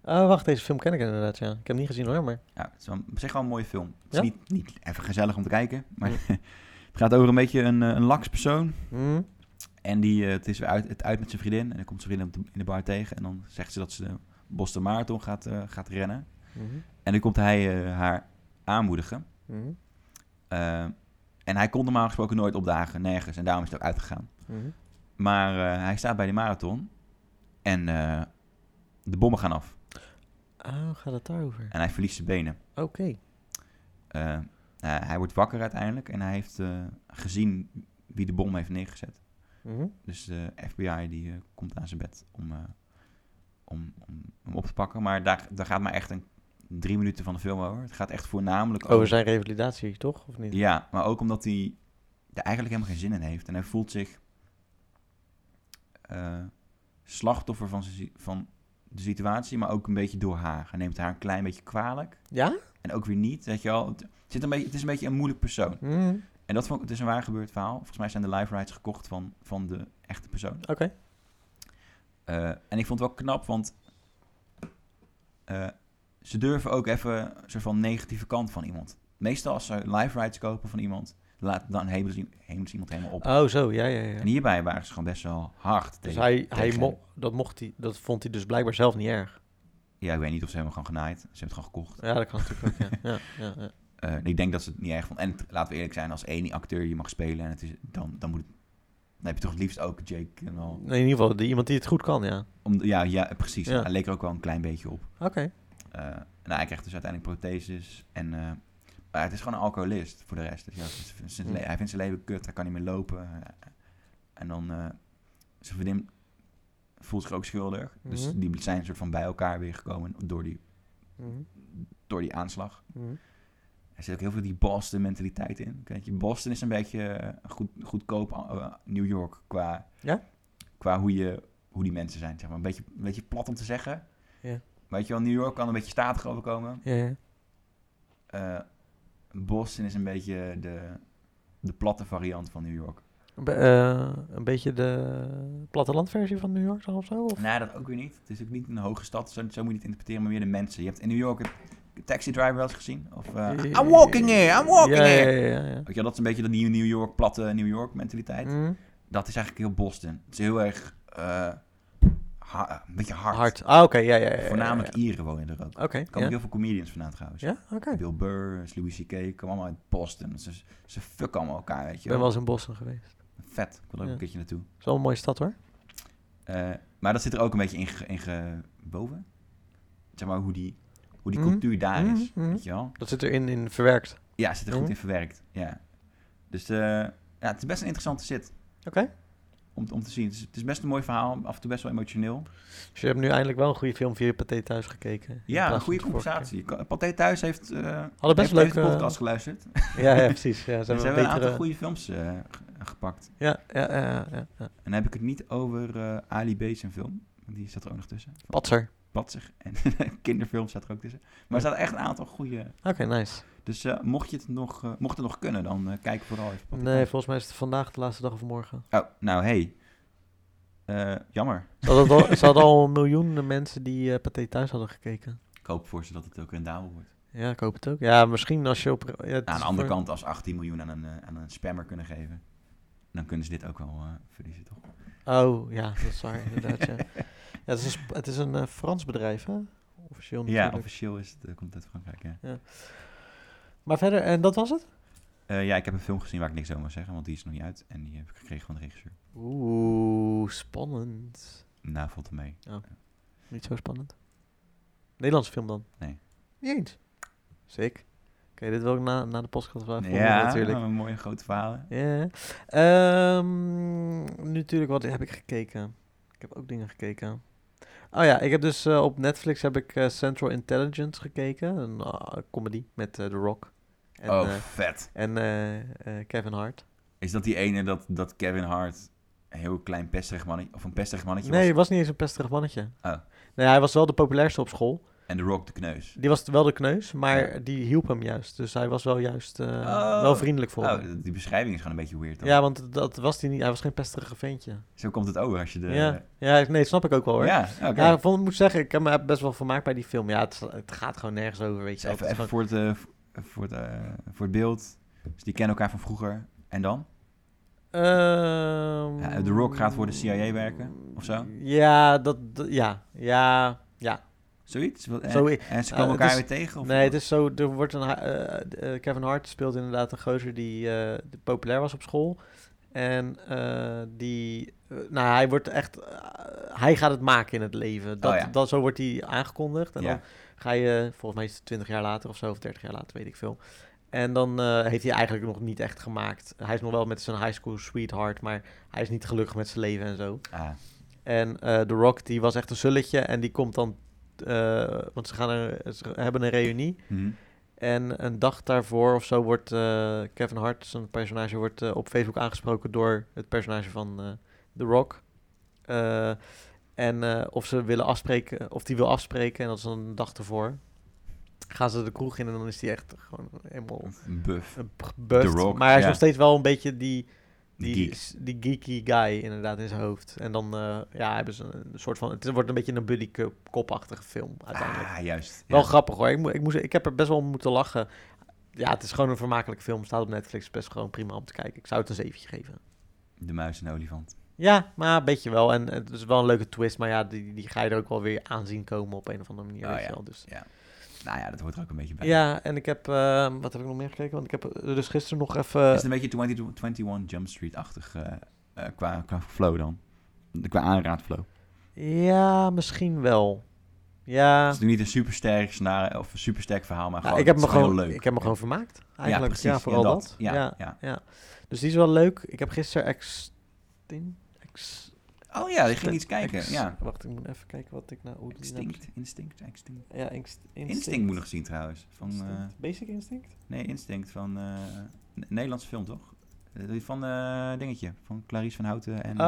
Oh, wacht, deze film ken ik inderdaad, ja. Ik heb hem niet gezien hoor, maar... ja, het is wel, op zich wel een mooie film. Het is Ja? niet, niet even gezellig om te kijken, maar... [LAUGHS] het gaat over een beetje een, eh, een laks persoon. Hm? En die, eh, het is weer uit, het uit met zijn vriendin. En dan komt zijn vriendin op de- in de bar tegen. En dan zegt ze dat ze de Boston Marathon gaat, eh, gaat rennen. Mhm. En dan komt hij eh, haar aanmoedigen. Mhm. Eh, en hij kon normaal gesproken nooit opdagen, nergens. En daarom is het ook uitgegaan. Mhm. Maar eh, hij staat bij die marathon. En eh, de bommen gaan af. Oh, gaat het daarover? En hij verliest zijn benen. Oké. Eh, eh, hij wordt wakker uiteindelijk. En hij heeft eh, gezien wie de bom heeft neergezet. Mhm. Dus de FBI die eh, komt aan zijn bed om, eh, om, om hem op te pakken. Maar daar, daar gaat maar echt een drie minuten van de film over. Het gaat echt voornamelijk Over zijn revalidatie, toch? Of niet? Ja, maar ook omdat hij er eigenlijk helemaal geen zin in heeft. En hij voelt zich eh, slachtoffer van, zijn si- van de situatie, maar ook een beetje door haar. Hij neemt haar een klein beetje kwalijk. Ja? En ook weer niet, weet je wel. Het, zit een beetje, het is een beetje een moeilijk persoon. Mhm. En dat vond ik, het is een waar gebeurd verhaal. Volgens mij zijn de live rides gekocht van, van de echte persoon. Oké. Eh, en ik vond het wel knap, want eh, ze durven ook even een soort van negatieve kant van iemand. Meestal als ze live rides kopen van iemand, laat, dan hemelen ze, hemelen ze iemand helemaal op. Oh, zo, ja, ja, ja. En hierbij waren ze gewoon best wel hard. Dus tegen- hij, hij tegen mo- hem. dat, mocht hij, dat vond hij dus blijkbaar zelf niet erg. Ja, ik weet niet of ze hem gewoon genaaid. Ze hebben het gewoon gekocht. Ja, dat kan natuurlijk ook, ja. ja, ja, [LAUGHS] ja. Eh, ik denk dat ze het niet erg vonden. En het- laten we eerlijk zijn, als één acteur je mag spelen, en het is, dan, dan, moet het, dan heb je toch het liefst ook Jake. En al, Nee, in ieder geval die, iemand die het goed kan, ja. om, ja, ja, precies. Ja. Hij leek er ook wel een klein beetje op. Oké. Eh, nou, hij krijgt dus uiteindelijk protheses. En, eh, maar het is gewoon een alcoholist voor de rest. Dus ja, het is- zijn le- hij vindt zijn leven kut, hij kan niet meer lopen. Eh, En dan, eh zijn vriendin voelt zich ook schuldig. Dus Mhm. die zijn een soort van bij elkaar weer gekomen door die, Mhm. door die aanslag. Mhm. Er zit ook heel veel die Boston mentaliteit in. Kijk, je, Boston is een beetje eh, goed, goedkoop eh, New York qua, Ja? qua hoe, je, hoe die mensen zijn. Zeg maar. een, beetje, een beetje plat om te zeggen. Ja. Weet je wel, New York kan een beetje statig overkomen. Ja, ja. Eh, Boston is een beetje de, de platte variant van New York. Be- eh, een beetje de plattelandversie van New York dan of zo? Of? Nee, dat ook weer niet. Het is ook niet een hoge stad, zo, zo moet je het interpreteren, maar meer de mensen. Je hebt in New York een taxi driver wel eens gezien. Of, eh, I'm walking here, I'm walking ja, here. Ja, ja, ja. Weet je wel, dat is een beetje de nieuwe New York, platte New York mentaliteit. Mhm. Dat is eigenlijk heel Boston. Het is heel erg, eh, ha- een beetje hard. Hard. Ah, oké, ja, ja, ja, ja. ja. Voornamelijk Ieren wonen er ook. Er Oké, komen ja. ook heel veel comedians vandaan trouwens. Ja, oké. Bill Burr, Louis C.K. komen allemaal uit Boston. Ze, ze fucken allemaal elkaar, weet Ik je ben wel. wel eens in Boston geweest. Vet, ik wil er ook Ja. een keertje naartoe. Het is wel een mooie stad hoor. Eh, maar dat zit er ook een beetje in, ge- in gewoven. Zeg maar hoe die, hoe die Mhm. cultuur daar Mhm, is. mhm. Weet je wel? Dat zit erin in verwerkt. Ja, zit er goed Mhm. in verwerkt. Ja. Dus eh, ja, het is best een interessante zit Oké. om, om te zien. Het is, het is best een mooi verhaal, af en toe best wel emotioneel. Dus je hebt nu eindelijk wel een goede film via je paté thuis gekeken. in plaats Ja, van een goede de vorige compensatie. Je kan- Pathé Thuis heeft, eh keer. Hadden best heeft leuk. deze podcast geluisterd. [LAUGHS] ja, ja, precies. Ja, Ze zijn hebben betere... een aantal goede films eh, ge- gepakt. Ja, ja, ja, ja, ja, ja. En dan heb ik het niet over eh, Ali B. zijn film. Want die zat er ook nog Oh. tussen. Van Patser. Patsig. En [LAUGHS] kinderfilm zat er ook tussen. Maar er zaten echt een aantal goede Oké, nice. Dus eh, mocht, je het nog, eh, mocht het nog kunnen, dan eh, kijk vooral even. op de Nee, kant. volgens mij is het vandaag de laatste dag of morgen. Oh, nou, hey. Eh, jammer. Ze hadden, al, ze hadden al miljoenen mensen die eh Pathé thuis hadden gekeken. Ik hoop voor ze dat het ook rendabel wordt. Ja, ik hoop het ook. Ja, misschien als je op... Ja, het aan is de andere voor- kant, als 18 miljoen aan een, eh, aan een spammer kunnen geven, dan kunnen ze dit ook wel eh, verliezen, toch? Oh, ja, dat is waar, inderdaad, ja. ja het is een, sp- het is een eh, Frans bedrijf, hè? Officieel Ja, natuurlijk. officieel is het, eh, komt het uit Frankrijk, ja. Maar verder, en dat was het? Eh, ja, ik heb een film gezien waar ik niks over mag zeggen, want die is nog niet uit. En die heb ik gekregen van de regisseur. Oeh, spannend. Nou, valt het mee. Niet zo spannend. Nederlandse film dan? Nee. Niet eens. Sick. Oké, dit wil ik na, na de podcast wel even horen ja, natuurlijk. een mooie grote verhalen. Ja. Ehm, nu natuurlijk, wat heb ik gekeken? Ik heb ook dingen gekeken. Oh ja, ik heb dus eh, op Netflix heb ik eh, Central Intelligence gekeken. Een ah, comedy met eh, The Rock. En, oh, eh, vet. en eh, eh, Kevin Hart. Is dat die ene dat, dat Kevin Hart een heel klein pesterig mannetje, of een pesterig mannetje Nee, was? hij was niet eens een pesterig mannetje. Oh. Nee, hij was wel de populairste op school. En The Rock de kneus. Die was wel de kneus, maar Ja. die hielp hem juist. Dus hij was wel juist eh, Oh. wel vriendelijk voor hem. Oh, die beschrijving is gewoon een beetje weird dan. Ja, want dat was hij niet. Hij was geen pesterige ventje. Zo komt het over als je de... Ja, ja, nee, snap ik ook wel hoor. Ja, oké. Ja, ik vond, ik moet zeggen, ik heb me er best wel vermaakt bij die film. Ja, het, het gaat gewoon nergens over, weet Dus je wel. even, Het is even voor, het, eh, voor- voor, het, eh, voor het beeld. Dus die kennen elkaar van vroeger. En dan? gewoon- Ehm, Ja, The Rock gaat voor de CIA werken, of zo? Ja, dat, dat- ja, ja, ja. Zoiets? Wat- En, Zoiets. en ze Eh, komen het elkaar is- weer tegen? Of nee, het is zo, er wordt een, ha- eh, eh, Kevin Hart speelt inderdaad een gozer die eh, die populair was op school. En eh, die, eh, nou hij wordt echt, eh, hij gaat het maken in het leven. Dat, Oh ja. dat, zo wordt hij aangekondigd. En Ja. dan ga je, volgens mij is het 20 jaar later of zo, of 30 jaar later, weet ik veel. En dan eh, heeft hij eigenlijk nog niet echt gemaakt. Hij is nog wel met zijn high school sweetheart, maar hij is niet gelukkig met zijn leven en zo. Ah, En eh, The Rock, die was echt een sulletje en die komt dan, eh, want ze, gaan er, ze hebben een reunie. hm. En een dag daarvoor of zo wordt eh, Kevin Hart, zijn personage, wordt eh, op Facebook aangesproken door het personage van eh, The Rock. Eh, en eh, of ze willen afspreken, of die wil afspreken, en dat is dan een dag ervoor. Gaan ze de kroeg in en dan is die echt gewoon helemaal Een buff. eh, gebust. The Rock, maar hij is ja. nog steeds wel een beetje die, Die die, geek. s- die geeky guy inderdaad in zijn hoofd. En dan eh, ja, hebben ze een soort van, het wordt een beetje een buddy cop- cop-achtige film uiteindelijk. Ah, juist. Wel Ja. grappig hoor. Ik, mo- ik, moest, ik heb er best wel om moeten lachen. Ja, het is gewoon een vermakelijke film. Staat op Netflix best gewoon prima om te kijken. Ik zou het een zeventje geven. De muis en de olifant. Ja, maar een beetje wel. En het is wel een leuke twist. Maar ja, die, die ga je er ook wel weer aan zien komen op een of andere manier. Oh, weet ja. je wel. Dus. Ja. Nou ja, dat hoort er ook een beetje bij. ja, en ik heb... eh, wat heb ik nog meer gekeken? Want ik heb eh, dus gisteren nog even... Is het een beetje 20, 21 Jump Street-achtig eh, eh, qua, qua flow dan? Qua aanraadflow. Ja, misschien wel. Ja, Het is nu niet een supersterk scenario of een supersterk verhaal, maar ja gewoon, ik, heb het me is gewoon, heel leuk. ik heb me gewoon vermaakt. Eigenlijk. Ja, precies. Ja, vooral dat. dat. Ja, ja, ja. Dus die is wel leuk. Ik heb gisteren Extin... Ex... Oh ja, ik ging Extin- iets kijken. Ex- ja. Wacht, ik moet even kijken wat ik nou... Hoe die nou Instinct, instinct, instinct. precies- Ja, inst- instinct. Instinct moet nog zien trouwens. Van, eh, Instinct. Basic Instinct? nee, Instinct van eh, een Nederlandse film toch? Eh, die Van eh dingetje, van Clarice van Houten. En, eh,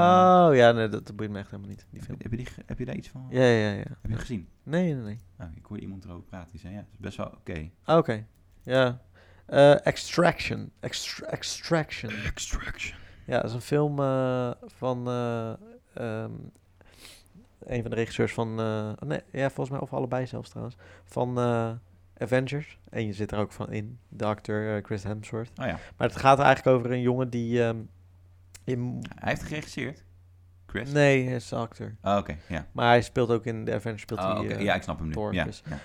Oh, ja, nee, dat boeit me echt helemaal niet, die film. heb, heb je die, ge- heb je daar iets van? Ja, ja, ja. Heb je gezien? Nee, nee, nee. Nou, ik hoorde iemand erover praten. Die zei ja, het is best wel oké. Ah, Oké, ja. Eh, Extraction. Extra- extraction. Extraction. Ja, dat is een film eh, van eh, ehm, een van de regisseurs van... eh, oh nee, ja, volgens mij, of allebei zelfs trouwens. Van eh, Avengers. En je zit er ook van in. De acteur eh, Chris Hemsworth. Oh ja, Maar het gaat eigenlijk over een jongen die... ehm, in, hij heeft geregisseerd. Chris? nee, hij is de acteur. Oh, oké, ja. Maar hij speelt ook in de Avengers. Speelt Oh, hij, oké, eh, ja, ik snap hem nu. Thor, Ja, dus. ja.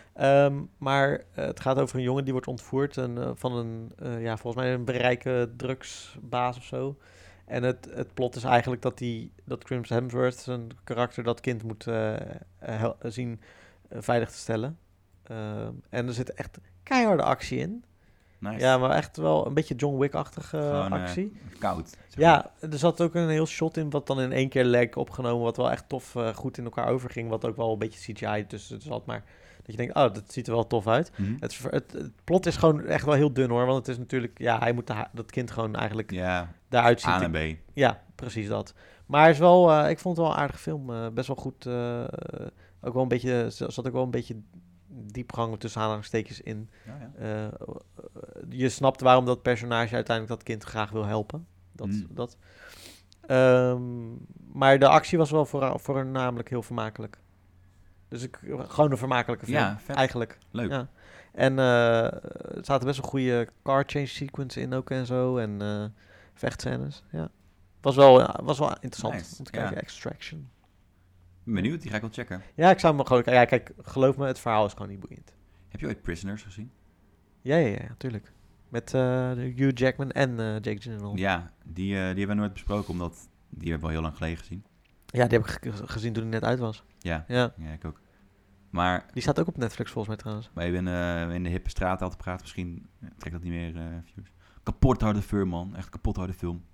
Ehm, maar eh, het gaat over een jongen die wordt ontvoerd en, eh, van een, eh, ja, volgens mij een berijke drugsbaas of zo. En het, het plot is eigenlijk dat, die, dat Crimson Hemsworth zijn karakter dat kind moet eh, hel- zien eh, veilig te stellen. Ehm, en er zit echt keiharde actie in. Nice. Ja, maar echt wel een beetje John Wick-achtige eh, Gewoon, eh, actie. koud. zeg maar. Ja, er zat ook een heel shot in wat dan in één keer lek opgenomen, wat wel echt tof eh, goed in elkaar overging, wat ook wel een beetje CGI tussen zat, maar dat je denkt, oh, dat ziet er wel tof uit. Mhm. Het, ver- het, het plot is gewoon echt wel heel dun hoor, want het is natuurlijk, ja, hij moet de ha- dat kind gewoon eigenlijk Ja, daaruit zien. A te- en B. Ja, precies dat. Maar het is wel, eh, ik vond het wel een aardige film, eh, best wel goed, eh, eh, ook wel een beetje, z- zat ook wel een beetje diepgang tussen aanhalingstekens in. Ja, ja. Eh, eh, je snapt waarom dat personage uiteindelijk dat kind graag wil helpen. Dat, Mm. dat. Ehm, maar de actie was wel voor, voornamelijk heel vermakelijk. Dus ik, gewoon een vermakelijke film, Ja, vet. eigenlijk. Leuk. Ja. En eh, er zaten best een goede car change sequence in ook en zo. En eh vechtscènes, ja. Was wel, ja, was wel interessant Nice, om te ja. kijken. Extraction. Ben Benieuwd, die ga ik wel checken. Ja, ik zou hem gewoon... Ja, kijk, geloof me, het verhaal is gewoon niet boeiend. Heb je ooit Prisoners gezien? Ja, ja, ja, tuurlijk. Met eh, Hugh Jackman en eh, Jake Gyllenhaal. Ja. Ja, die, eh, die hebben we nooit besproken, omdat die hebben we al heel lang geleden gezien. die heb ik ge- gezien toen hij net uit was. Ja, Ja, ja ik ook. Maar, die staat ook op Netflix volgens mij trouwens. maar je bent eh, in de hippe straat aan te praten, misschien eh, trekt dat niet meer eh, views. Kapot harde film, man. Echt kapot harde film.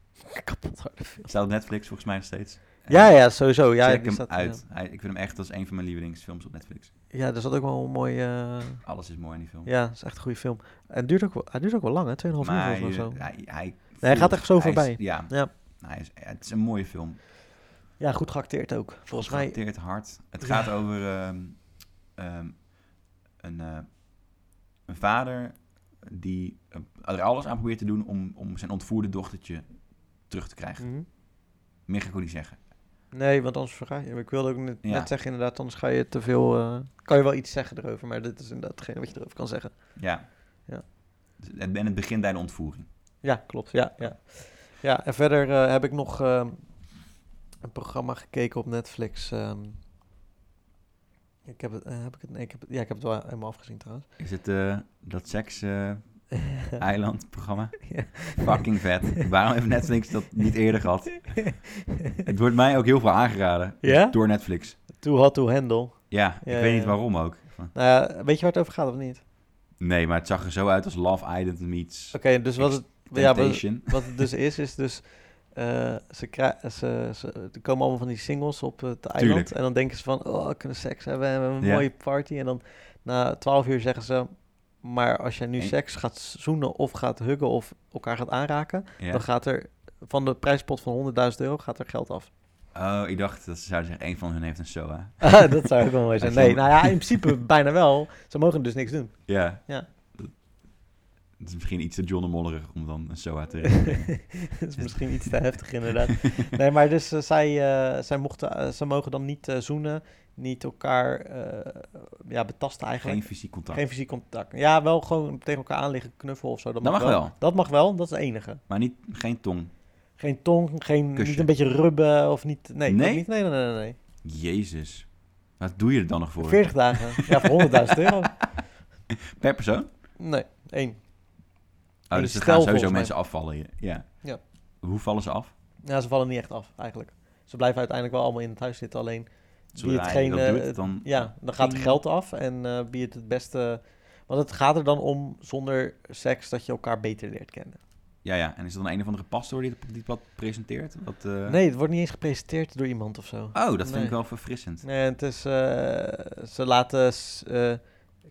Kapot harde film. Staat op Netflix volgens mij nog steeds. En Ja, ja, sowieso. Ja, check die hem staat, uit. Hij- ik vind hem echt als een van mijn lievelingsfilms op Netflix. Ja, er zat ook wel een mooie... eh, Alles is mooi in die film. ja, dat is echt een goede film. En duurt ook wel, hij duurt ook wel lang, hè? 2,5 uur maar volgens mij of zo. je- hij, hij, hij gaat voelt- echt zo hij is- voorbij. ja. Ja. Hij is, het is een mooie film. Ja, goed geacteerd ook. Volgens mij. Het hard. Ja. Het gaat over ehm, ehm, een, eh, een vader die eh, er alles aan probeert te doen om, om zijn ontvoerde dochtertje terug te krijgen. Mhm. Meer ga ik ook niet zeggen. Nee, want anders verga je. Ik wilde ook net, Ja. net zeggen, inderdaad, anders ga je te veel. eh, kan je wel iets zeggen erover, maar dit is inderdaad hetgene wat je erover kan zeggen. Ja. Ja. Dus het- En het begint bij de ontvoering. Ja, klopt. Ja, ja. ja en verder eh, heb ik nog ehm, een programma gekeken op Netflix. ehm. ik heb het, eh, heb ik het, nee, ik heb het, ja, ik heb het wel helemaal afgezien trouwens. Is het eh, dat [LAUGHS] seks-eiland programma? Ja. Fucking vet. Waarom heeft Netflix dat niet eerder gehad? [LAUGHS] Het wordt mij ook heel veel aangeraden Ja? door Netflix. Too hot to handle. Ja, ik Ja, weet ja, niet ja. waarom ook. Van, Nou ja, weet je waar het over gaat of niet? Nee, maar het zag er zo uit als Love Island meets Oké, dus wat het, ja, wat, Temptation. wat het dus is, is dus... eh, ze, krij- ze, ze er komen allemaal van die singles op eh, het eiland. Tuurlijk. En dan denken ze van, oh, we kunnen seks hebben en we hebben een Ja. mooie party. En dan na twaalf uur zeggen ze, maar als jij nu En- seks gaat zoenen of gaat huggen of elkaar gaat aanraken... Ja. dan gaat er van de prijspot van 100.000 euro gaat er geld af. Oh, ik dacht dat ze zouden zeggen, één van hun heeft een SOA. Ah, [LAUGHS] dat zou ook wel mooi zijn. Echt Nee, wel mooi. nou ja, in principe bijna wel. Ze mogen dus niks doen. Ja. Ja. Het is misschien iets te John de Mollerig om dan een SOA te [LAUGHS] dat is misschien iets te heftig [LAUGHS] inderdaad. Nee, maar dus eh, zij, eh, zij mochten, eh, ze mogen dan niet eh, zoenen, niet elkaar eh, ja, betasten eigenlijk. Geen Geen, fysiek contact. fysiek contact. Ja, wel gewoon tegen elkaar aan liggen, knuffelen of zo. Dat, Dat mag wel. Dat mag wel, dat is het enige. Maar niet, geen tong. Geen tong, geen, Kusje. niet een beetje rubben of niet. Nee, dat Nee? Niet, nee, nee, nee. nee, nee. Jezus. Wat doe je er dan nog voor? 40 [LAUGHS] dagen. Ja, voor 100.000 euro. Per persoon? Nee, één. Oh, Eén dus er stel gaan sowieso volgens mij. mensen afvallen. hier. Ja. Ja. Hoe vallen ze af? Ja, ze vallen niet echt af eigenlijk. Ze blijven uiteindelijk wel allemaal in het huis zitten, alleen Zodra Die je hetgeen, dat eh, doet, dan... Ja, dan gaat er geld af en eh wie het het beste... Want het gaat er dan om, zonder seks, dat je elkaar beter leert kennen. Ja, ja. En is er dan een of andere pastoor die dat- die dat presenteert? Wat, eh, Nee, het wordt niet eens gepresenteerd door iemand of zo. Oh, dat vind Nee. ik wel verfrissend. Nee, het is... eh, ze laten s- eh,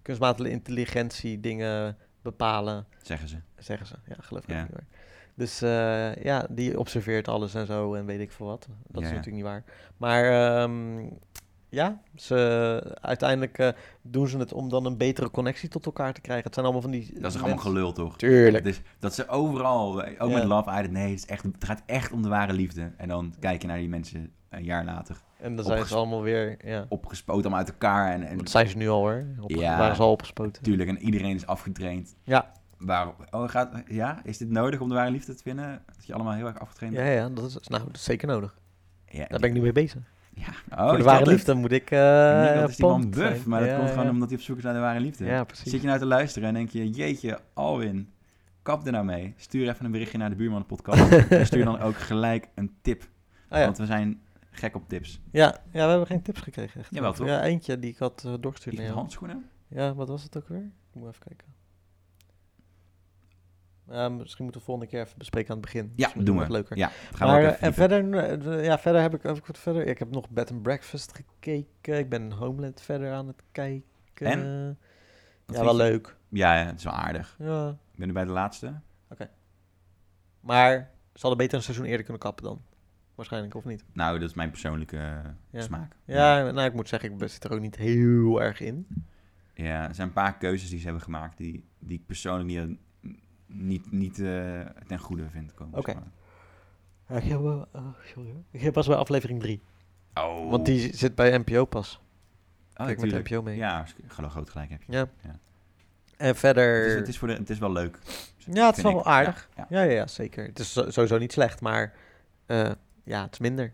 kunstmatige intelligentie dingen bepalen, Zeggen ze. zeggen ze. Ja, geloof ik ook Ja. niet hoor. Dus eh, ja, die observeert alles en zo en weet ik veel wat. Dat Ja, is ja. natuurlijk niet waar. Maar ehm, ja, ze, uiteindelijk eh, doen ze het om dan een betere connectie tot elkaar te krijgen. Het zijn allemaal van die... Dat is toch mensen- allemaal gelul, toch? Tuurlijk. Dus dat ze overal, eh, ook Ja. met Love Island, nee, het, is echt, het gaat echt om de ware liefde. En dan kijk je naar die mensen een jaar later En dan zijn opges- ze allemaal weer, ja. opgespoten, allemaal uit elkaar. En, en Dat zijn ze nu al hoor. Op, Ja. Waren ze al opgespoten. natuurlijk, en iedereen is afgetraind. Ja. Waar, oh, gaat, ja, is dit nodig om de ware liefde te vinden? Dat je allemaal heel erg afgetraind Ja, bent? ja, dat is, nou, dat is zeker nodig. Ja, Daar ben ik nu mee bezig. Ja. Oh, Voor ik de dacht ware het. liefde moet ik... eh En Niemand is die man pumped buff, zijn. maar dat Ja, komt gewoon ja. omdat hij op zoek is naar de ware liefde. Ja, precies. Zit je nou te luisteren en denk je, jeetje, Alwin, kap er nou mee. Stuur even een berichtje naar de buurman [LAUGHS] podcast. en stuur dan ook gelijk een tip, Ah, ja. want we zijn gek op tips. Ja. ja, we hebben geen tips gekregen. Echt. Jawel, toch? Ja, eentje die ik had eh, doorgestuurd Iets naar met jou. handschoenen? Ja, wat was het ook weer? Ik moet even kijken. Ja, misschien moeten we volgende keer even bespreken aan het begin. Ja, Misschien doen nog we. Leuker. Ja, gaan maar, we ook eh, even en verdiepen. verder, eh, ja, verder heb ik, heb ik wat verder. Ik heb nog Bed and Breakfast gekeken. Ik ben Homeland verder aan het kijken. En? Wat Ja, vind wel je? leuk. Ja, ja, het is wel aardig. Ja. Ik ben nu bij de laatste. Maar ze hadden beter een seizoen eerder kunnen kappen dan. Waarschijnlijk, of niet? Nou, dat is mijn persoonlijke eh, Ja. smaak. Ja, nou, ik moet zeggen, ik zit er ook niet heel erg in. Ja, er zijn een paar keuzes die ze hebben gemaakt die, die ik persoonlijk niet, niet, niet eh, ten goede vind komen. Oké. zeg maar. Ja, ik, heb, wel- oh, sorry, hoor. ik heb pas bij aflevering 3. Oh, Want die zit bij NPO pas. oh, Kijk met tuurlijk. NPO mee. Ja, ik geloof groot gelijk heb je. Ja. Ja. En Het is, verder... het is voor de, het is wel leuk. ja, het is vind wel ik. aardig. Ja, Ja, ja, ja, zeker. Het is zo- sowieso niet slecht, maar eh, ja, het is minder.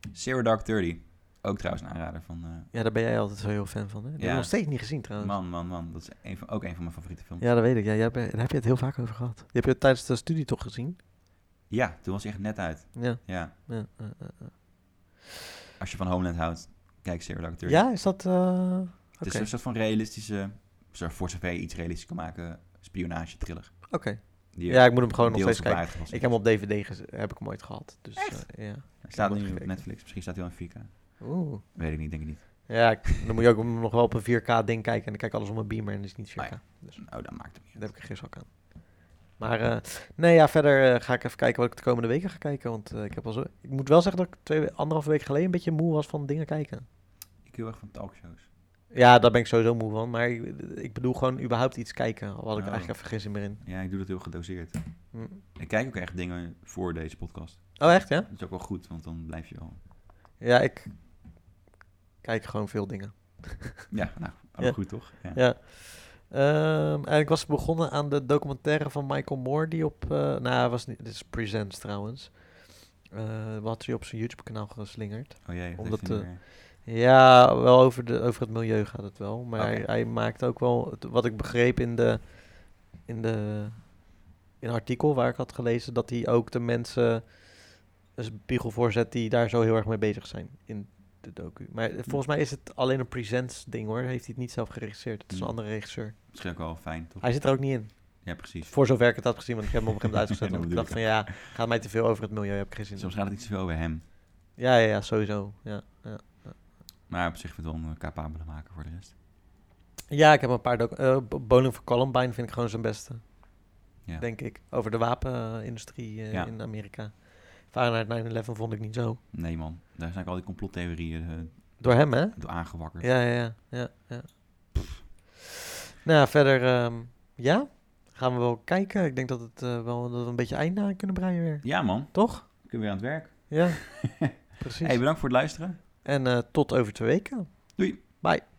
ja. Zero Dark Thirty. Ook trouwens een aanrader van... eh, Ja, daar ben jij altijd zo heel fan van. Hè? Die heb ik Ja. nog steeds niet gezien trouwens. man, man, man. Dat is een van, ook een van mijn favoriete films. Ja. Ja, dat weet ik. Ja, jij bent- daar heb je het heel vaak over gehad. Die heb je het tijdens de studie toch gezien? toen was hij echt net uit. Ja. Ja. Ja, eh, eh, eh. Als je van Homeland houdt, kijk Zero Dark Thirty. ja is dat... eh, Het is Oké. een soort van realistische... zo- Voor zover je iets realistisch kan maken, spionage-thriller. Oké. Die Ja, ik moet hem gewoon nog deels steeds kijken. waarheid gebaseerd Ik heb hem op DVD gez- heb ik hem ooit gehad. Dus, eh, ja. is. Hij staat hem nu op gekeken. Netflix. Misschien staat hij wel in 4K. Oeh. Weet ik niet, denk ik niet. Ja, ik- dan moet je ook nog wel op een 4K ding kijken. En dan kijk ik alles op een beamer en dat is niet 4K. Ah, Dus Nou, dat maakt het niet daar uit. heb ik er geen zak aan. Maar eh, nee, ja, verder eh, ga ik even kijken wat ik de komende weken ga kijken. Want eh, ik, heb al zo, ik moet wel zeggen dat ik twee, anderhalve week geleden een beetje moe was van dingen kijken. Ik heel erg van talkshows. Ja, daar ben ik sowieso moe van. Maar ik, ik bedoel gewoon überhaupt iets kijken. Al had ik Oh. eigenlijk even geen zin meer in. Ja, ik doe dat heel gedoseerd. Hm. Ik kijk ook echt dingen voor deze podcast. Oh, echt ja? Dat is ook wel goed, want dan blijf je [LAUGHS] wel... Ja, ik kijk gewoon veel dingen. Ja, nou, ook Ja. goed toch? Ja. Ja. Ehm, en ik was begonnen aan de documentaire van Michael Moore die op... eh nou, hij was niet, dit is Presents trouwens. Eh wat hij op zijn YouTube-kanaal geslingerd. Oh jee, dat Omdat, heeft hij eh, niet meer. Ja, wel over, de, over het milieu gaat het wel. Maar hij, Oké. hij maakt ook wel, het- wat ik begreep in de, in de in een artikel waar ik had gelezen, dat hij ook de mensen een spiegel voorzet die daar zo heel erg mee bezig zijn in de docu. Maar eh, volgens mij is het alleen een presents ding hoor. Heeft hij het niet zelf geregisseerd. Het is een Hmm. andere regisseur. Misschien ook wel fijn, toch? Hij zit er ook niet in. Ja, precies. Voor zover ik het had gezien, want ik heb hem op een gegeven [LAUGHS] moment uitgezet. Dat want ik bedoel dacht van ja, gaat mij te veel over het milieu, heb ik geen zin in. Soms gaat het iets te veel bij hem. Ja, ja, ja, sowieso. Ja, ja. Maar op zich vind ik het wel een capabele maken voor de rest. Ja, ik heb een paar docu- eh, B- Bowling for Columbine vind ik gewoon zijn beste. Ja. Denk ik. Over de wapenindustrie eh, Ja. in Amerika. Fahrenheit 9-11 vond ik niet zo. Nee man, daar zijn ook al die complottheorieën eh, Door hem, hè? door aangewakkerd. Ja, ja, ja. ja, ja. Nou, ja, verder... ehm, ja? Gaan we wel kijken. Ik denk dat, het, eh, wel, dat we een beetje eind aan kunnen breien weer. Ja, man, Toch? we kunnen weer aan het werk. [LAUGHS] Ja. Precies. Hey, bedankt voor het luisteren. En eh, tot over twee weken. Doei. Bye.